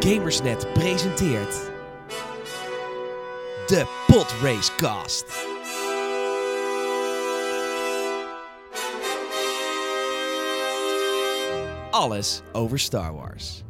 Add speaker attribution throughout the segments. Speaker 1: Gamersnet presenteert de Podracecast. Alles over Star Wars.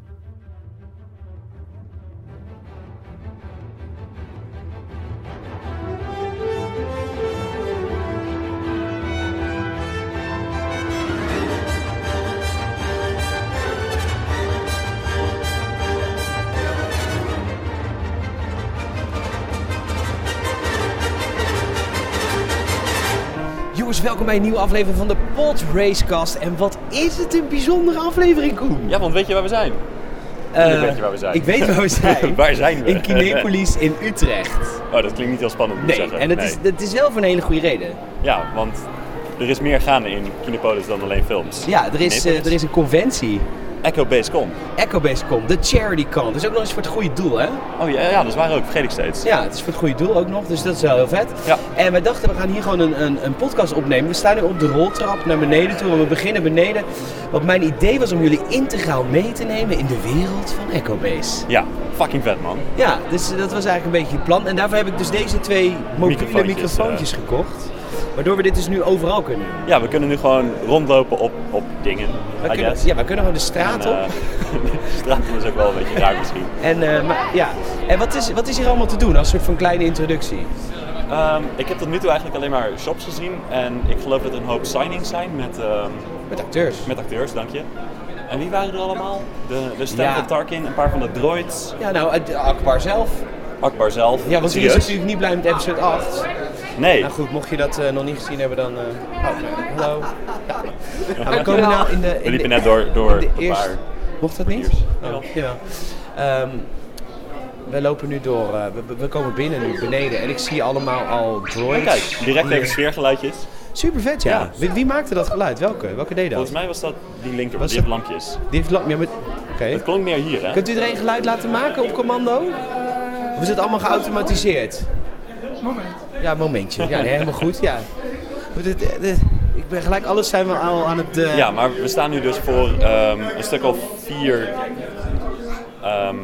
Speaker 1: Jongens, welkom bij een nieuwe aflevering van de Podracecast. En wat is het een bijzondere aflevering, Koen?
Speaker 2: Ja, want weet je waar we zijn?
Speaker 1: Eh,
Speaker 2: weet je waar we zijn.
Speaker 1: Ik weet waar we zijn.
Speaker 2: Waar zijn we?
Speaker 1: In Kinepolis in Utrecht.
Speaker 2: Oh, dat klinkt niet heel spannend moet ik
Speaker 1: Nee,
Speaker 2: zeggen.
Speaker 1: en het,
Speaker 2: Nee.
Speaker 1: Is, het is wel voor een hele goede reden.
Speaker 2: Ja, want er is meer gaande in Kinepolis dan alleen films.
Speaker 1: Ja, er is, eh,
Speaker 2: Kinepolis.
Speaker 1: er is een conventie.
Speaker 2: Echo Base Con.
Speaker 1: EchoBaseCon, de CharityCon. Dus ook nog eens voor het goede doel, hè?
Speaker 2: Oh ja, ja, dat is waar ook. Vergeet ik steeds.
Speaker 1: Ja, het is voor het goede doel ook nog, dus dat is wel heel vet.
Speaker 2: Ja.
Speaker 1: En wij dachten, we gaan hier gewoon een, een, een podcast opnemen. We staan nu op de roltrap naar beneden toe en we beginnen beneden. Want mijn idee was om jullie integraal mee te nemen in de wereld van EchoBase.
Speaker 2: Ja, fucking vet man.
Speaker 1: Ja, dus eh, dat was eigenlijk een beetje het plan. En daarvoor heb ik dus deze twee mobiele
Speaker 2: Microfoontjes,
Speaker 1: microfoontjes eh. gekocht. Waardoor we dit dus nu overal kunnen doen.
Speaker 2: Ja, we kunnen nu gewoon rondlopen op, op dingen.
Speaker 1: We
Speaker 2: I
Speaker 1: kunnen,
Speaker 2: guess.
Speaker 1: ja, we kunnen gewoon de straat
Speaker 2: En,
Speaker 1: op.
Speaker 2: eh, de straat is ook wel een beetje raar misschien.
Speaker 1: En, eh, maar, ja. en wat, is, wat is hier allemaal te doen als soort van kleine introductie?
Speaker 2: Ehm, ik heb tot nu toe eigenlijk alleen maar shops gezien. En ik geloof dat er een hoop signings zijn met, ehm,
Speaker 1: Met acteurs.
Speaker 2: met acteurs, dank je. En wie waren er allemaal? De, de stem
Speaker 1: Ja.
Speaker 2: van Tarkin, een paar van de droids.
Speaker 1: Ja, nou, het- Akbar zelf.
Speaker 2: Akbar zelf.
Speaker 1: Ja, want die is
Speaker 2: Serieus?
Speaker 1: natuurlijk niet blij met episode 8.
Speaker 2: Nee.
Speaker 1: Nou goed, mocht je dat eh, nog niet gezien hebben, dan... eh, oh, nee, hallo. Ja. Nou, we komen nou in de... in
Speaker 2: We liepen
Speaker 1: de-
Speaker 2: net door, door
Speaker 1: in de
Speaker 2: een
Speaker 1: eerste-
Speaker 2: paar.
Speaker 1: Mocht dat niet?
Speaker 2: portiers.
Speaker 1: Oh,
Speaker 2: Jawel.
Speaker 1: jawel. Ehm, we lopen nu door... eh, we, we komen binnen nu, beneden. En ik zie allemaal al droids.
Speaker 2: Kijk, direct
Speaker 1: hier.
Speaker 2: even sfeergeluidjes.
Speaker 1: Super vet, ja.
Speaker 2: Ja.
Speaker 1: Wie, wie maakte dat geluid? Welke? Welke deed dat?
Speaker 2: Volgens mij was dat die linker,
Speaker 1: Was
Speaker 2: want die
Speaker 1: het-
Speaker 2: heeft lampjes.
Speaker 1: Die heeft lang... Ja, maar... Oké.
Speaker 2: Het klonk meer hier, hè?
Speaker 1: Kunt u er een geluid laten maken op commando? Of is het allemaal geautomatiseerd? Moment. Ja, momentje. Ja, nee, helemaal goed. Ja. Maar dit- dit- ik ben gelijk, alles zijn we al aan het... eh,
Speaker 2: Ja, maar we staan nu dus voor ehm, een stuk of vier... ehm,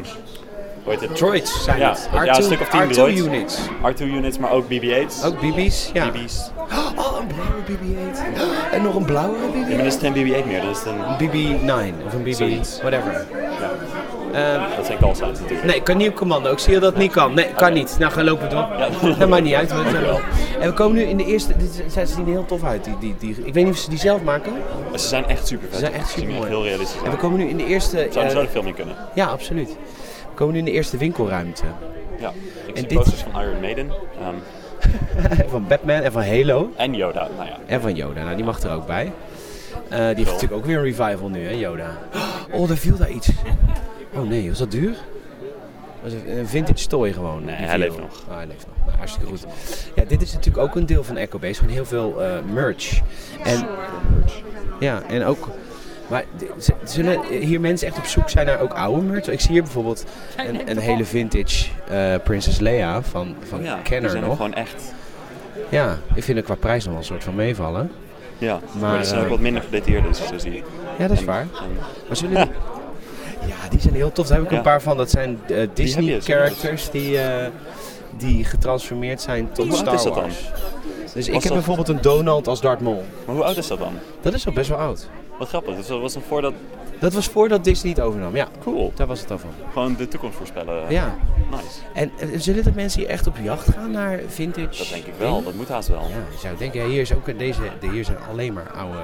Speaker 2: hoe heet het?
Speaker 1: Droids zijn
Speaker 2: Ja,
Speaker 1: het.
Speaker 2: ja, een stuk of tien
Speaker 1: R2
Speaker 2: droids.
Speaker 1: units.
Speaker 2: R2-units, maar ook BB-8's.
Speaker 1: Ook BB's, ja.
Speaker 2: BB's.
Speaker 1: Oh, een blauwe BB-8. En nog een blauwere
Speaker 2: Ja, maar
Speaker 1: BB-8.
Speaker 2: dat is geen BB-8 meer, dat is een...
Speaker 1: BB-9 of een BB,
Speaker 2: Zoiets.
Speaker 1: whatever.
Speaker 2: Ja,
Speaker 1: Ehm,
Speaker 2: dat zijn callsigns natuurlijk.
Speaker 1: Nee, kan niet op commando. Ik zie dat dat niet kan. Nee, kan niet. Nou, ga lopen door. Dat maakt niet uit. We zijn wel. En we komen nu in de eerste... Dit, zijn- ze zien er heel tof uit. Die, die, die, ik weet niet of ze die zelf maken.
Speaker 2: Ze zijn echt super vet.
Speaker 1: Ze zijn echt super mooi.
Speaker 2: Heel realistisch.
Speaker 1: En we
Speaker 2: uit.
Speaker 1: komen nu in de eerste...
Speaker 2: Zouden
Speaker 1: eh,
Speaker 2: zo de film in kunnen.
Speaker 1: ja, absoluut. We komen nu in de eerste winkelruimte.
Speaker 2: Ja. Ik zie
Speaker 1: dit-
Speaker 2: posters van Iron Maiden. ehm,
Speaker 1: van Batman en van Halo.
Speaker 2: en Yoda, nou ja.
Speaker 1: En van Yoda. Nou, die mag er ook bij. Eh, die heeft natuurlijk ook weer een revival nu, hè, Yoda. Oh, daar viel daar iets. Oh nee, was dat duur? Was het een vintage toy gewoon.
Speaker 2: Nee,
Speaker 1: die
Speaker 2: hij
Speaker 1: viel.
Speaker 2: leeft nog.
Speaker 1: Ah, hij leeft nog. Nou, hartstikke goed. Ja, dit is natuurlijk ook een deel van Echo Base. Gewoon heel veel eh, merch. En, ja, en ook... Maar d- z- zullen hier mensen echt op zoek zijn naar ook oude merch? Ik zie hier bijvoorbeeld een, een hele vintage eh, Princess Leia van, van
Speaker 2: Ja, die
Speaker 1: Kenner
Speaker 2: zijn er
Speaker 1: nog.
Speaker 2: gewoon echt.
Speaker 1: Ja, ik vind het qua prijs nog wel een soort van meevallen.
Speaker 2: Ja, maar,
Speaker 1: Maar,
Speaker 2: die zijn
Speaker 1: eh,
Speaker 2: ook wat minder gedetailleerd, dus zo zie je.
Speaker 1: Ja, dat is
Speaker 2: En-
Speaker 1: waar.
Speaker 2: en-
Speaker 1: Maar zullen die... Ja, die zijn heel tof. Daar heb ik
Speaker 2: Ja.
Speaker 1: een paar van. Dat zijn eh,
Speaker 2: heb
Speaker 1: Disney
Speaker 2: je,
Speaker 1: characters die, eh, die getransformeerd zijn tot
Speaker 2: Hoe oud
Speaker 1: Star
Speaker 2: is dat dan?
Speaker 1: Wars. Dus ik
Speaker 2: Was
Speaker 1: heb
Speaker 2: dat-
Speaker 1: bijvoorbeeld een Donald als Darth Maul.
Speaker 2: maar hoe oud is dat dan?
Speaker 1: Dat is al best wel oud.
Speaker 2: Wat grappig, dus dat was dan voordat...
Speaker 1: Dat was voordat Disney het overnam. Ja,
Speaker 2: Cool.
Speaker 1: daar was het al van.
Speaker 2: Gewoon de toekomst voorspellen.
Speaker 1: Ja.
Speaker 2: Nice.
Speaker 1: En eh, zullen dat mensen hier echt op jacht gaan naar vintage?
Speaker 2: Dat denk ik wel, dat moet haast wel.
Speaker 1: Ja, je zou denken, ja, hier, is ook, deze, de- hier zijn alleen maar oude,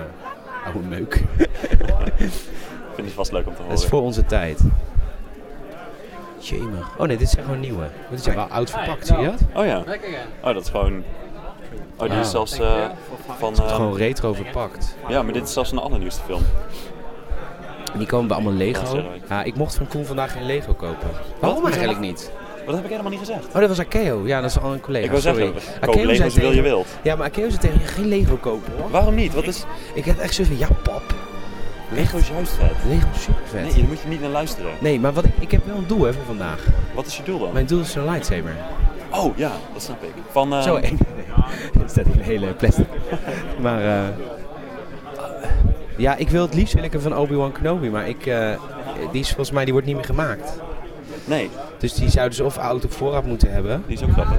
Speaker 1: oude meuk.
Speaker 2: Ik vind het vast leuk om te horen.
Speaker 1: Dat is voor onze tijd. Jemig. Oh nee, dit zijn gewoon nieuwe. Maar Dit zijn wel oud verpakt, zie je dat?
Speaker 2: Oh ja.
Speaker 3: Back again.
Speaker 2: Oh, dat is gewoon... Oh, die
Speaker 1: Ah.
Speaker 2: is zelfs eh, van... eh,
Speaker 1: Gewoon retro verpakt.
Speaker 2: ja, maar dit is zelfs een allernieuwste film.
Speaker 1: En die komen bij allemaal
Speaker 2: Ja,
Speaker 1: Lego. Oh,
Speaker 2: sorry.
Speaker 1: Ja, ik mocht van Koen vandaag geen Lego kopen. Waarom eigenlijk niet?
Speaker 2: Wat heb ik helemaal niet gezegd?
Speaker 1: Oh, dat was Akeo. Ja, dat is al een collega.
Speaker 2: Ik wou
Speaker 1: sorry.
Speaker 2: zeggen,
Speaker 1: Akeo
Speaker 2: koop Lego
Speaker 1: zei
Speaker 2: zoveel je
Speaker 1: tegen-
Speaker 2: wilt.
Speaker 1: Ja, maar Akeo zei tegen je, geen Lego kopen hoor.
Speaker 2: Waarom niet? Wat is...
Speaker 1: Ik had echt zo van, ja pap.
Speaker 2: Lego is juist vet.
Speaker 1: Lego is super vet.
Speaker 2: Nee,
Speaker 1: Nee,
Speaker 2: daar moet je niet naar luisteren.
Speaker 1: maar wat, ik- ik heb wel een doel hè, voor vandaag.
Speaker 2: Wat is je doel dan?
Speaker 1: Mijn doel is een lightsaber.
Speaker 2: Oh ja, dat snap ik. Van... eh,
Speaker 1: Zo eng. Er staat een hele plastic. Maar eh, ja, ik wil het liefst wil ik hem van Obi-Wan Kenobi, maar ik, eh, die is volgens mij die wordt niet meer gemaakt.
Speaker 2: Nee,
Speaker 1: Dus die zou dus of oud op voorraad moeten hebben,
Speaker 2: die is ook grappig.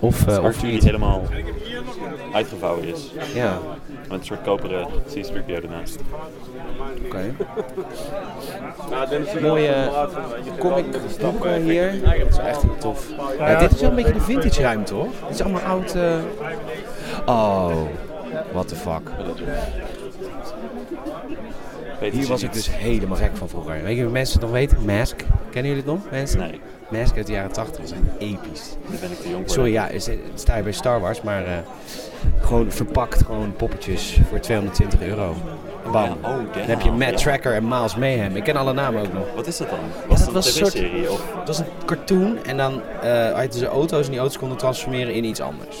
Speaker 1: of, eh,
Speaker 2: Of
Speaker 1: of
Speaker 2: die niet
Speaker 1: niet.
Speaker 2: helemaal uitgevouwen is.
Speaker 1: Ja,
Speaker 2: Met een soort koperen C-stripje ernaast.
Speaker 1: oké. Mooie comic boeken hier. Dat is wel echt heel tof. Ja, dit is wel een beetje de vintage ruimte, hoor. Het is allemaal oud... eh, Oh, what the fuck.
Speaker 2: Weet
Speaker 1: Hier
Speaker 2: ze
Speaker 1: was ik
Speaker 2: niet.
Speaker 1: dus helemaal gek van vroeger. Weet je wat mensen het nog weten? Mask. Kennen jullie het nog, mensen?
Speaker 2: Nee,
Speaker 1: Mask uit de jaren 80 was echt episch.
Speaker 2: daar ben ik te jong voor.
Speaker 1: Sorry, ja, is- sta je bij Star Wars, maar eh, gewoon verpakt gewoon poppetjes voor 220 euro. Bam.
Speaker 2: Ja, oh, damn.
Speaker 1: dan heb je Matt
Speaker 2: Ja.
Speaker 1: Tracker en Miles Mayhem. Ik ken alle namen ook nog.
Speaker 2: Wat is dat dan? Was
Speaker 1: dat
Speaker 2: dat een
Speaker 1: was een soort-
Speaker 2: tv-serie? Of...
Speaker 1: Het was een cartoon en dan eh had je dus auto's en die auto's konden transformeren in iets anders.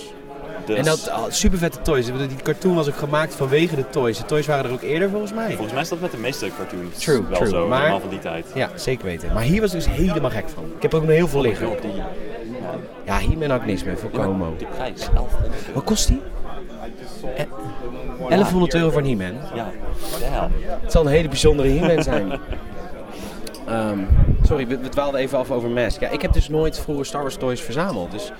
Speaker 2: Dus,
Speaker 1: En dat super vette toys. Ik bedoel, Die cartoon was ook gemaakt vanwege de toys. De toys waren er ook eerder volgens mij.
Speaker 2: Volgens mij is dat met de meeste cartoons
Speaker 1: True,
Speaker 2: wel
Speaker 1: true,
Speaker 2: zo,
Speaker 1: maar-
Speaker 2: helemaal van die tijd.
Speaker 1: Ja, zeker weten. Maar hier was ik dus helemaal gek van. Ik heb er ook nog heel veel liggen.
Speaker 2: Op die, ja,
Speaker 1: Ja, hier ben ik niks mee voor Como.
Speaker 2: die prijs, 11 euro.
Speaker 1: Wat kost die? Eh, 1100 euro voor een He-Man.
Speaker 2: Ja, damn.
Speaker 1: Het zal een hele bijzondere He-Man zijn. Ehm, sorry, we, we dwaalden even af over Mask. Ja, ik heb dus nooit vroeger Star Wars toys verzameld. Dus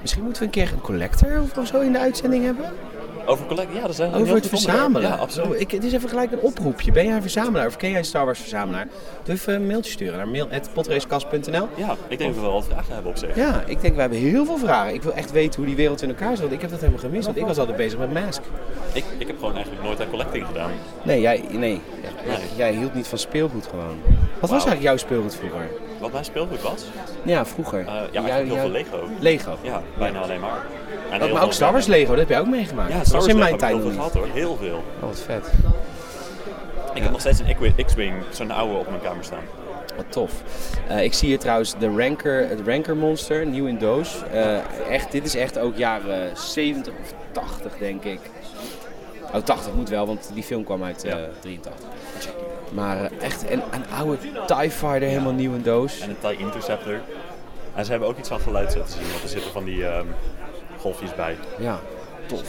Speaker 1: misschien moeten we een keer een collector of zo in de uitzending hebben.
Speaker 2: Over collecten, ja, dat is eigenlijk
Speaker 1: Over
Speaker 2: een
Speaker 1: het
Speaker 2: heel goed onderwerp.
Speaker 1: verzamelen.
Speaker 2: Ja, absoluut.
Speaker 1: Oh, Ik, het is even gelijk een oproepje. Ben jij een verzamelaar of ken jij een Star Wars verzamelaar? Doe even een mailtje sturen naar mail.potracekast.nl
Speaker 2: Ja, ik denk dat we wel wat vragen hebben op zich.
Speaker 1: Ja, ik denk, we hebben heel veel vragen. Ik wil echt weten hoe die wereld in elkaar zit. want Ik heb dat helemaal gemist, want ik was altijd bezig met Mask.
Speaker 2: Ik, ik heb gewoon eigenlijk nooit aan collecting gedaan.
Speaker 1: Nee, jij, nee.
Speaker 2: Nee.
Speaker 1: jij hield niet van speelgoed gewoon. Wat was
Speaker 2: Wauw.
Speaker 1: eigenlijk jouw speelgoed vroeger?
Speaker 2: Wat mijn speelgoed was?
Speaker 1: Ja, vroeger.
Speaker 2: Eh, ja,
Speaker 1: Jij-
Speaker 2: eigenlijk heel
Speaker 1: jij-
Speaker 2: veel Lego.
Speaker 1: Lego?
Speaker 2: Ja, bijna alleen maar. En
Speaker 1: Dat,
Speaker 2: heel
Speaker 1: maar
Speaker 2: veel-
Speaker 1: ook Star Wars Lego, dat heb je ook meegemaakt.
Speaker 2: Ja,
Speaker 1: Dat
Speaker 2: Star
Speaker 1: was
Speaker 2: Wars
Speaker 1: in
Speaker 2: Lego heb ik
Speaker 1: mijn tijd
Speaker 2: heel
Speaker 1: nog
Speaker 2: veel
Speaker 1: niet.
Speaker 2: gehad hoor, heel veel.
Speaker 1: Oh, wat vet.
Speaker 2: Ik heb nog steeds een Equi- X-Wing, zo'n oude, op mijn kamer staan.
Speaker 1: Wat tof. Eh, ik zie hier trouwens de Ranker, het Ranker Monster, nieuw in doos. Eh, echt, dit is echt ook jaren 70 of 80, denk ik. Oh, 80 moet wel, want die film kwam uit eh,
Speaker 2: Ja.
Speaker 1: 83. Maar eh, echt een, een oude TIE Fighter, helemaal nieuw in doos.
Speaker 2: En een TIE Interceptor. En ze hebben ook iets van geluid laten zien, want er zitten van die ehm, golfjes bij.
Speaker 1: Ja, tof.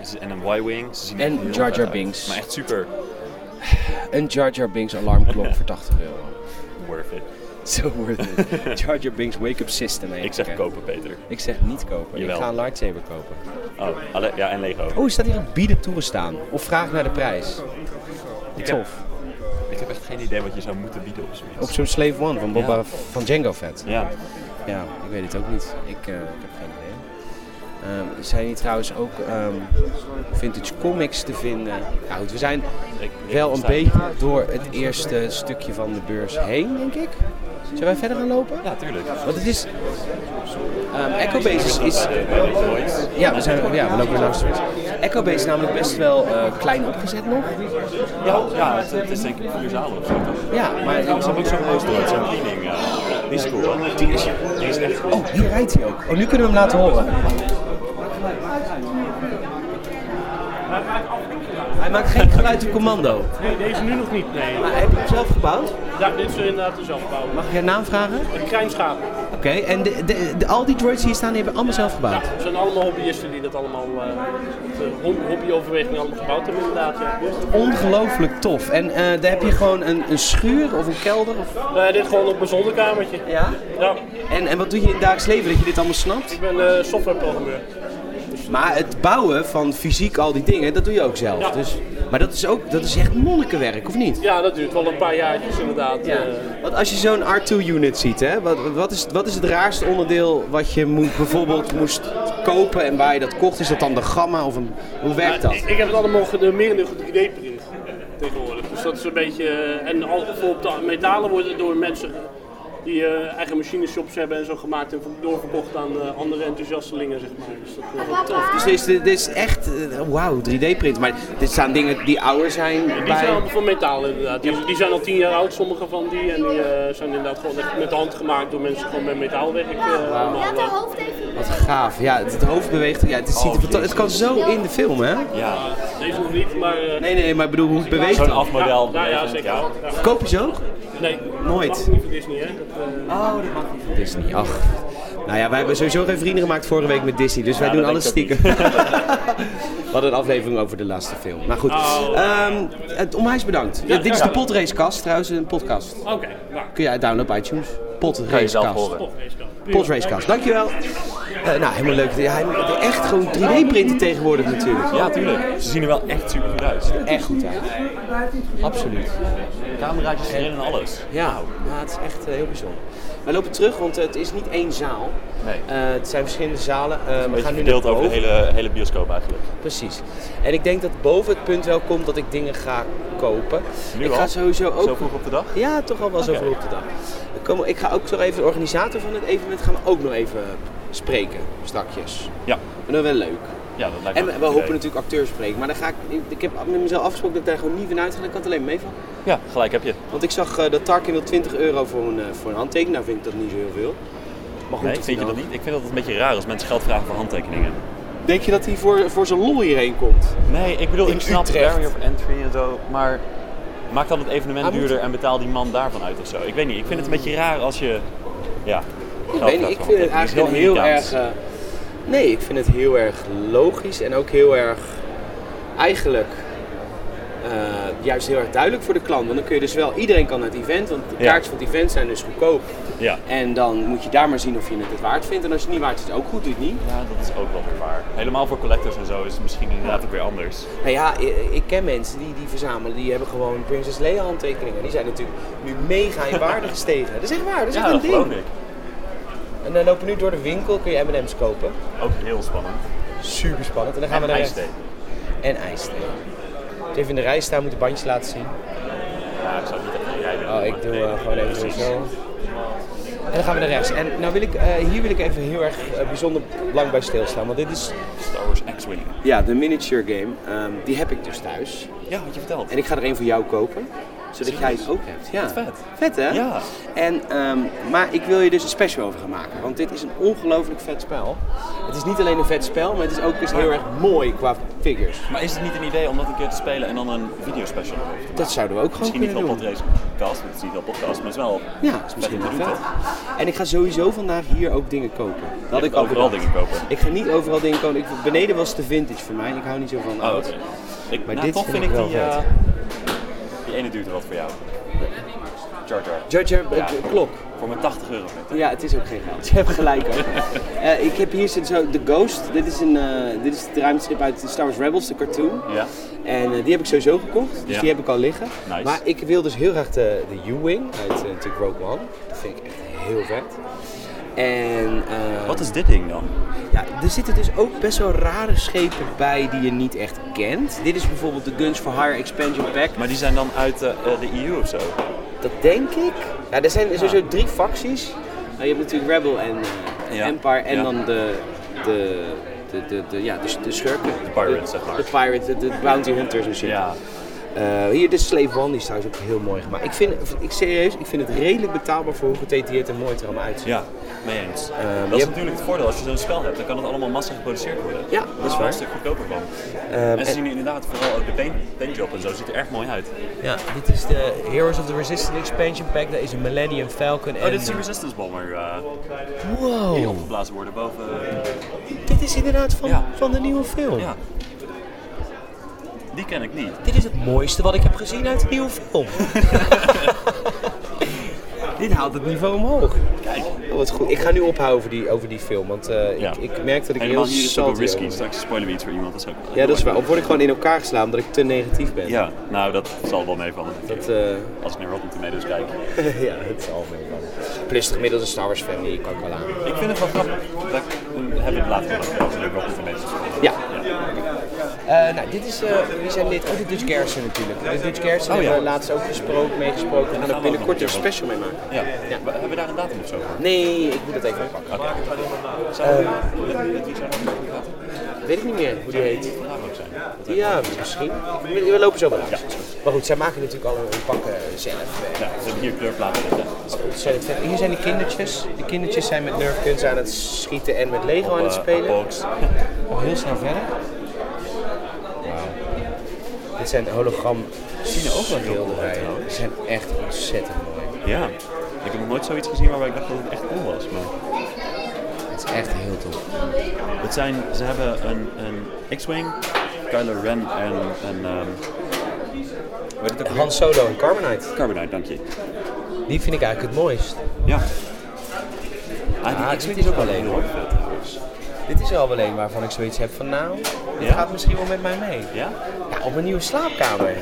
Speaker 2: Dus- En een Y-Wing. Ze zien
Speaker 1: En
Speaker 2: er heel
Speaker 1: Jar Jar
Speaker 2: vet uit.
Speaker 1: Binks.
Speaker 2: Maar echt super
Speaker 1: Een Jar Jar Binks alarmklok voor 80 euro.
Speaker 2: worth it.
Speaker 1: So worth it. Jar Jar Binks wake-up system.
Speaker 2: Ik
Speaker 1: eigenlijk,
Speaker 2: zeg
Speaker 1: hè.
Speaker 2: kopen, Peter.
Speaker 1: Ik zeg niet kopen.
Speaker 2: Jawel.
Speaker 1: Ik ga een lightsaber kopen.
Speaker 2: Oh, alle- ja, en Lego.
Speaker 1: Oh, staat hier een bieden toegestaan? Of vraag naar de prijs?
Speaker 2: Ik heb-
Speaker 1: Tof.
Speaker 2: Ik heb echt geen idee wat je zou moeten bieden op zoiets.
Speaker 1: Op zo'n Slave One van, Boba,
Speaker 2: Ja.
Speaker 1: van Django Fett.
Speaker 2: Ja,
Speaker 1: Ja, ik weet het ook niet. Ik, eh, ik heb geen idee. Ehm, zijn hier trouwens ook ehm, vintage comics te vinden? Nou goed, we zijn
Speaker 2: ik, ik
Speaker 1: wel een
Speaker 2: sta-
Speaker 1: beetje door het eerste stukje van de beurs heen, denk ik. Zullen wij verder gaan lopen?
Speaker 2: Ja, tuurlijk.
Speaker 1: Want het is... ehm Echo Base is- is,
Speaker 2: Bij- bij de toys.
Speaker 1: Ja, we, zijn, ja, we lopen weer langs de switch. Echo Base is namelijk best wel eh, klein opgezet nog.
Speaker 2: Ja, ja het, het is denk ik vier zalen of zo. toch?
Speaker 1: Ja, maar...
Speaker 2: Ze hebben ook zo'n poster, zo'n cleaning. eh, die is cool. hoor. Die is, die is echt...
Speaker 1: Oh, hier rijdt hij ook. Oh, nu kunnen we hem laten horen. Hij maakt geen geluid op commando.
Speaker 3: Nee, deze nu nog niet. Nee.
Speaker 1: Maar heb je hem zelf gebouwd?
Speaker 3: Ja, dit is inderdaad dus de zelfbouw.
Speaker 1: Mag ik je naam vragen?
Speaker 3: Een kruinschaap.
Speaker 1: Oké, en de, de, de- al die droids die hier staan, die hebben allemaal zelf gebouwd.
Speaker 3: Het zijn allemaal hobbyisten die dat allemaal, eh, de ho- hobbyoverweging allemaal gebouwd hebben inderdaad. Ja.
Speaker 1: Ongelooflijk tof. En eh, daar heb je gewoon een, een schuur of een kelder? Of...
Speaker 3: Nee, Eh, dit gewoon op mijn zolderkamertje.
Speaker 1: Ja.
Speaker 3: Ja,
Speaker 1: En, en wat doe je in het dagelijks leven dat je dit allemaal snapt?
Speaker 3: ik ben eh softwareprogrammeur.
Speaker 1: Maar het bouwen van fysiek al die dingen, dat doe je ook zelf.
Speaker 3: Ja.
Speaker 1: Dus, maar dat is ook dat is echt monnikenwerk, of niet?
Speaker 3: Ja, dat duurt wel een paar jaartjes inderdaad.
Speaker 1: Ja.
Speaker 3: eh.
Speaker 1: Want als je zo'n R2-unit ziet, hè, wat, wat, is, wat is het raarste onderdeel wat je moet, bijvoorbeeld moest kopen en waar je dat kocht? Is dat dan de gamma of een, hoe werkt
Speaker 3: Maar
Speaker 1: dat?
Speaker 3: Nou, Ik, ik heb het allemaal gedemeerd op 3D-print tegenwoordig. Dus dat is een beetje... eh, En al, voor op de metalen worden door mensen die eh, eigen machineshops hebben en zo gemaakt en doorverkocht aan eh, andere enthousiastelingen, zeg maar. Dus dat is wel tof.
Speaker 1: Dus dit is, dit is echt, eh, wauw, 3D-print. Maar dit staan dingen die ouder zijn
Speaker 3: Die zijn
Speaker 1: bij...
Speaker 3: allemaal van metaal inderdaad. Die, die zijn al tien jaar oud, sommige van die. En die eh, zijn inderdaad gewoon echt met de hand gemaakt door mensen gewoon met metaalwerk. eh, allemaal,
Speaker 4: Laat haar
Speaker 3: eh.
Speaker 4: hoofd even
Speaker 1: Wat gaaf, ja, het, het hoofd beweegt, ja, het, ziet, er
Speaker 2: Oh,
Speaker 1: fanta- het kan zo in de film, hè?
Speaker 2: Ja,
Speaker 3: Deze nog niet, maar... eh,
Speaker 1: Nee, nee, maar ik bedoel, hoe het beweegt
Speaker 2: zo'n
Speaker 1: dan.
Speaker 2: afmodel.
Speaker 3: Ja, ja,
Speaker 2: weet je,
Speaker 3: zeker.
Speaker 2: ja.
Speaker 3: Ja.
Speaker 1: Koop je zo?
Speaker 3: Nee,
Speaker 1: Nooit.
Speaker 3: Dat mag niet voor Disney, hè. Dat, eh,
Speaker 1: Oh, dat mag niet. Disney, ach. Nou ja, wij hebben sowieso geen vrienden gemaakt vorige week met Disney, dus wij
Speaker 2: Ja,
Speaker 1: doen
Speaker 2: dat
Speaker 1: alles
Speaker 2: denk
Speaker 1: stiekem.
Speaker 2: ik ook
Speaker 1: We hadden een aflevering over de laatste film. Maar goed,
Speaker 3: Oh.
Speaker 1: Ehm, het onwijs bedankt. Ja, dit is de
Speaker 2: graag.
Speaker 1: Podracecast, trouwens een podcast.
Speaker 3: Oké, nou.
Speaker 1: Kun je downloaden op iTunes.
Speaker 2: Kan je zelf
Speaker 1: Podracecast.
Speaker 2: horen.
Speaker 3: Podracecast. Prima.
Speaker 1: Podracecast, dankjewel. Eh nou, helemaal leuk. Ja, hij- echt gewoon 3D-printen tegenwoordig natuurlijk.
Speaker 2: Ja, tuurlijk. Ze zien er wel echt super goed uit.
Speaker 1: Echt goed uit. Absoluut.
Speaker 2: Cameraatjes erin en alles.
Speaker 1: Ja, ja, het is echt eh, heel bijzonder. Wij lopen terug, want het is niet één zaal.
Speaker 2: Nee.
Speaker 1: Eh, het zijn verschillende zalen. Eh, we
Speaker 2: Beetje
Speaker 1: gaan nu
Speaker 2: verdeeld
Speaker 1: naar
Speaker 2: over de
Speaker 1: boven.
Speaker 2: hele, hele bioscoop eigenlijk.
Speaker 1: Precies. En ik denk dat boven het punt wel komt dat ik dingen ga kopen.
Speaker 2: Nu
Speaker 1: ik
Speaker 2: al?
Speaker 1: ga sowieso ook...
Speaker 2: Zo vroeg op de dag?
Speaker 1: Ja, toch al wel zo
Speaker 2: Oké.
Speaker 1: vroeg op de dag. Ik, kom, ik ga ook zo even de organisator van het evenement gaan we ook nog even spreken, strakjes.
Speaker 2: Ja.
Speaker 1: En dat wel leuk.
Speaker 2: Ja, dat lijkt
Speaker 1: En
Speaker 2: me
Speaker 1: we,
Speaker 2: een
Speaker 1: we
Speaker 2: goed
Speaker 1: hopen
Speaker 2: idee.
Speaker 1: natuurlijk acteurs spreken, maar daar ga ik, ik heb met mezelf afgesproken dat ik daar gewoon niet van uitga, dat kan het alleen mee van.
Speaker 2: Ja, gelijk heb je.
Speaker 1: Want ik zag eh, dat Tarkin wil 20 euro voor een, eh, voor een handtekening, nou vind ik dat niet zo heel veel. Maar goed, nou-
Speaker 2: Nee,
Speaker 1: of
Speaker 2: vind je
Speaker 1: hij
Speaker 2: dat
Speaker 1: dan-
Speaker 2: niet? Ik vind dat het een beetje raar als mensen geld vragen voor handtekeningen.
Speaker 1: Denk je dat hij voor, voor zijn lol hierheen komt?
Speaker 2: Nee, ik bedoel,
Speaker 1: In
Speaker 2: ik snap de
Speaker 1: Utrecht.
Speaker 2: barrier of entry en zo, maar maak dan het evenement
Speaker 1: Hij moet-
Speaker 2: duurder en betaal die man daarvan uit of zo. Ik weet niet, ik vind het een beetje raar als je, ja,
Speaker 1: Ik weet niet, ik vind het eigenlijk heel, erg. eh, nee, ik vind het heel erg logisch en ook heel erg. eigenlijk. eh, juist heel erg duidelijk voor de klant. Want dan kun je dus wel. iedereen kan naar het event, want de
Speaker 2: Ja.
Speaker 1: kaartjes van het event zijn dus goedkoop.
Speaker 2: Ja.
Speaker 1: En dan moet je daar maar zien of je het het waard vindt. En als je het niet waard vindt, ook goed, doe je het niet.
Speaker 2: ja, dat is ook wel weer waar. Helemaal voor collectors en zo is het misschien inderdaad ook weer anders.
Speaker 1: Nou ja, ik, ik ken mensen die, die verzamelen, die hebben gewoon Princess Leia handtekeningen. Die zijn natuurlijk nu mega in waarde gestegen. Dat is echt waar, dat is
Speaker 2: ja,
Speaker 1: echt een
Speaker 2: dat geloof
Speaker 1: ding.
Speaker 2: ik.
Speaker 1: En dan lopen we nu door de winkel, kun je M&M's kopen.
Speaker 2: Ook heel spannend.
Speaker 1: Super spannend. En dan gaan
Speaker 2: En
Speaker 1: we naar
Speaker 2: ijsthee.
Speaker 1: en ijsthee. Dus even in de rij staan, moeten bandjes laten zien.
Speaker 2: Ja, ik zou het niet echt rijden.
Speaker 1: Oh, ik doe eh, gewoon even zo. En dan gaan we naar rechts. En nou wil ik, eh, hier wil ik even heel erg eh, bijzonder lang bij stilstaan. Want dit is...
Speaker 2: Star Wars X-Wing.
Speaker 1: Ja, de miniature game. ehm, die heb ik dus thuis.
Speaker 2: Ja, had je verteld.
Speaker 1: En ik ga er één voor jou kopen. Zodat jij het ook hebt. Ja.
Speaker 2: Wat vet.
Speaker 1: Vet hè?
Speaker 2: Ja.
Speaker 1: En, ehm, maar ik wil je dus een special over gaan maken. Want dit is een ongelooflijk vet spel. Het is niet alleen een vet spel, maar het is ook eens heel erg mooi qua figures.
Speaker 2: Maar is het niet een idee om dat een keer te spelen en dan een videospecial erover te maken?
Speaker 1: Dat zouden we ook gewoon
Speaker 2: Misschien niet
Speaker 1: kunnen
Speaker 2: wel
Speaker 1: doen.
Speaker 2: podcast, want het is niet wel podcast, maar het is wel
Speaker 1: Ja, is misschien wel
Speaker 2: vet om te
Speaker 1: vet.
Speaker 2: doen, toch?
Speaker 1: En ik ga sowieso vandaag hier ook dingen kopen. Dat had
Speaker 2: Je
Speaker 1: ik
Speaker 2: gaat
Speaker 1: al
Speaker 2: overal
Speaker 1: bedacht.
Speaker 2: dingen kopen.
Speaker 1: Ik ga niet overal dingen kopen. Ik, beneden was de vintage voor mij. Ik hou niet zo van
Speaker 2: Oh,
Speaker 1: oud.
Speaker 2: oké. Ik,
Speaker 1: Maar
Speaker 2: nou,
Speaker 1: dit
Speaker 2: toch
Speaker 1: vind
Speaker 2: vind,
Speaker 1: ik
Speaker 2: ik
Speaker 1: wel
Speaker 2: die,
Speaker 1: vet.
Speaker 2: eh, die ene duurt er wat voor jou. Jar Jar.
Speaker 1: Jar Jar, eh,
Speaker 2: voor-
Speaker 1: klok.
Speaker 2: Voor mijn 80 euro. met.
Speaker 1: Ja, het is ook geen geld. Je hebt gelijk hoor. Eh, ik heb hier zit zo The Ghost. Dit is, een, eh, dit is het ruimteschip uit Star Wars Rebels, de cartoon.
Speaker 2: Ja.
Speaker 1: En eh, die heb ik sowieso gekocht. Dus
Speaker 2: Ja.
Speaker 1: die heb ik al liggen.
Speaker 2: Nice.
Speaker 1: Maar ik wil dus heel graag de, de U-Wing uit eh, natuurlijk Rogue One. Dat vind ik echt heel vet. En, eh,
Speaker 2: Wat is dit ding dan?
Speaker 1: Ja, er zitten dus ook best wel rare schepen bij die je niet echt kent. Dit is bijvoorbeeld de Guns for Hire Expansion Pack.
Speaker 2: Maar die zijn dan uit eh, eh, de EU of zo.
Speaker 1: Dat denk ik. Ja, er zijn sowieso drie facties. Nou, je hebt natuurlijk Rebel en eh,
Speaker 2: Ja.
Speaker 1: Empire en
Speaker 2: Ja.
Speaker 1: dan de, de, de, de, de- ja, de, de schurken. De
Speaker 2: pirates, zeg maar.
Speaker 1: De pirates, de, de bounty hunters en shit.
Speaker 2: Ja.
Speaker 1: Eh, hier de Slave One, die is trouwens ook heel mooi gemaakt. Ik vind, ik, serieus, ik vind het redelijk betaalbaar voor hoe gedetailleerd en mooi het er allemaal uitziet.
Speaker 2: Ja, mee eens.
Speaker 1: je
Speaker 2: dat is
Speaker 1: hebt-
Speaker 2: natuurlijk het voordeel. Als je zo'n spel hebt, dan kan het allemaal massa geproduceerd worden.
Speaker 1: Ja,
Speaker 2: Daar
Speaker 1: dat
Speaker 2: is
Speaker 1: is
Speaker 2: wel
Speaker 1: waar.
Speaker 2: een stuk goedkoper van.
Speaker 1: Ehm,
Speaker 2: en ze
Speaker 1: en-
Speaker 2: zien inderdaad vooral ook de paint, paintjob en zo. Ziet er erg mooi uit. Oh,
Speaker 1: Ja, dit is de Heroes of the Resistance Expansion Pack. Daar is een Millennium Falcon en...
Speaker 2: Oh, dit is een resistance bomber eh, die
Speaker 1: Wow,
Speaker 2: opgeblazen worden boven.
Speaker 1: dit is inderdaad van,
Speaker 2: Ja.
Speaker 1: van de nieuwe film.
Speaker 2: ja. Die ken ik niet.
Speaker 1: Dit is het mooiste wat ik heb gezien uit de nieuwe film. Dit haalt het niveau omhoog.
Speaker 2: Kijk.
Speaker 1: Oh, wat goed. Ik ga nu ophouden over die, over die film, want eh,
Speaker 2: Ja.
Speaker 1: ik, ik merk dat ik
Speaker 2: Helemaal
Speaker 1: heel
Speaker 2: hier is het ook wel
Speaker 1: salty
Speaker 2: risky.
Speaker 1: over ben.
Speaker 2: Straks spoilen we iets voor iemand. Dat is ook
Speaker 1: Ja, dat is waar. Of word ik gewoon in elkaar geslaan omdat ik te negatief ben.
Speaker 2: Ja, nou dat zal wel meevallen.
Speaker 1: Dat, eh,
Speaker 2: Als ik naar Rotten Tomatoes kijk.
Speaker 1: ja, het zal wel. Plus de gemiddelde Star Wars family kan ik wel aan.
Speaker 2: Ik vind het wel grappig. Dat ik- heb ik later gedacht als ik Rotten Tomatoes kijk.
Speaker 1: Ja. Eh, nou, dit is, eh, wie zijn dit? Oh, de Dutch Gerson natuurlijk. De Dutch Gerson
Speaker 2: Oh, ja.
Speaker 1: hebben we laatst ook gesproken, meegesproken. We gaan
Speaker 2: gaan we
Speaker 1: er
Speaker 2: ook nog
Speaker 1: binnenkort
Speaker 2: een
Speaker 1: een
Speaker 2: keer
Speaker 1: special mee maken.
Speaker 2: Ja. We- Hebben we daar een datum of zo voor?
Speaker 1: Nee, ik moet dat even pakken.
Speaker 2: Zou wie zou dat
Speaker 1: Weet ik niet meer hoe die heet.
Speaker 2: vandaag ook zijn? Dat weet ik
Speaker 1: Ja, misschien. We we lopen zo wel langs. Maar goed, zij maken natuurlijk al hun pakken zelf.
Speaker 2: niet. Ja, ze hebben hier kleurplaten liggen. Dus op,
Speaker 1: Ontzettend vet. Hier zijn de kindertjes. De kindertjes zijn met nerfguns aan het schieten en met Lego aan het
Speaker 2: eh,
Speaker 1: spelen.
Speaker 2: box. Oh,
Speaker 1: Nog heel snel verder. Dit zijn de hologram zien
Speaker 2: er ook wel heel mooi uit,
Speaker 1: schilderijen.
Speaker 2: trouwens.
Speaker 1: Ze zijn echt ontzettend mooi.
Speaker 2: Ja. Ik heb nog nooit zoiets gezien waarbij ik dacht dat het echt cool was. Maar...
Speaker 1: Het is echt heel tof.
Speaker 2: Het zijn, ze hebben een, een X-Wing, Kylo Ren en een... ehm hoe heet het ook alweer?
Speaker 1: Han Solo en Carbonite.
Speaker 2: Carbonite, dank je.
Speaker 1: Die vind ik eigenlijk het mooist.
Speaker 2: Ja. Ah, die
Speaker 1: Ah,
Speaker 2: X-Wing is
Speaker 1: dit is
Speaker 2: ook wel
Speaker 1: wel
Speaker 2: heel
Speaker 1: leuk.
Speaker 2: veel trouwens.
Speaker 1: Dit is al alleen waarvan ik zoiets heb van nou, dit
Speaker 2: Ja?
Speaker 1: gaat misschien wel met mij mee.
Speaker 2: Ja?
Speaker 1: Ja, op mijn nieuwe slaapkamer.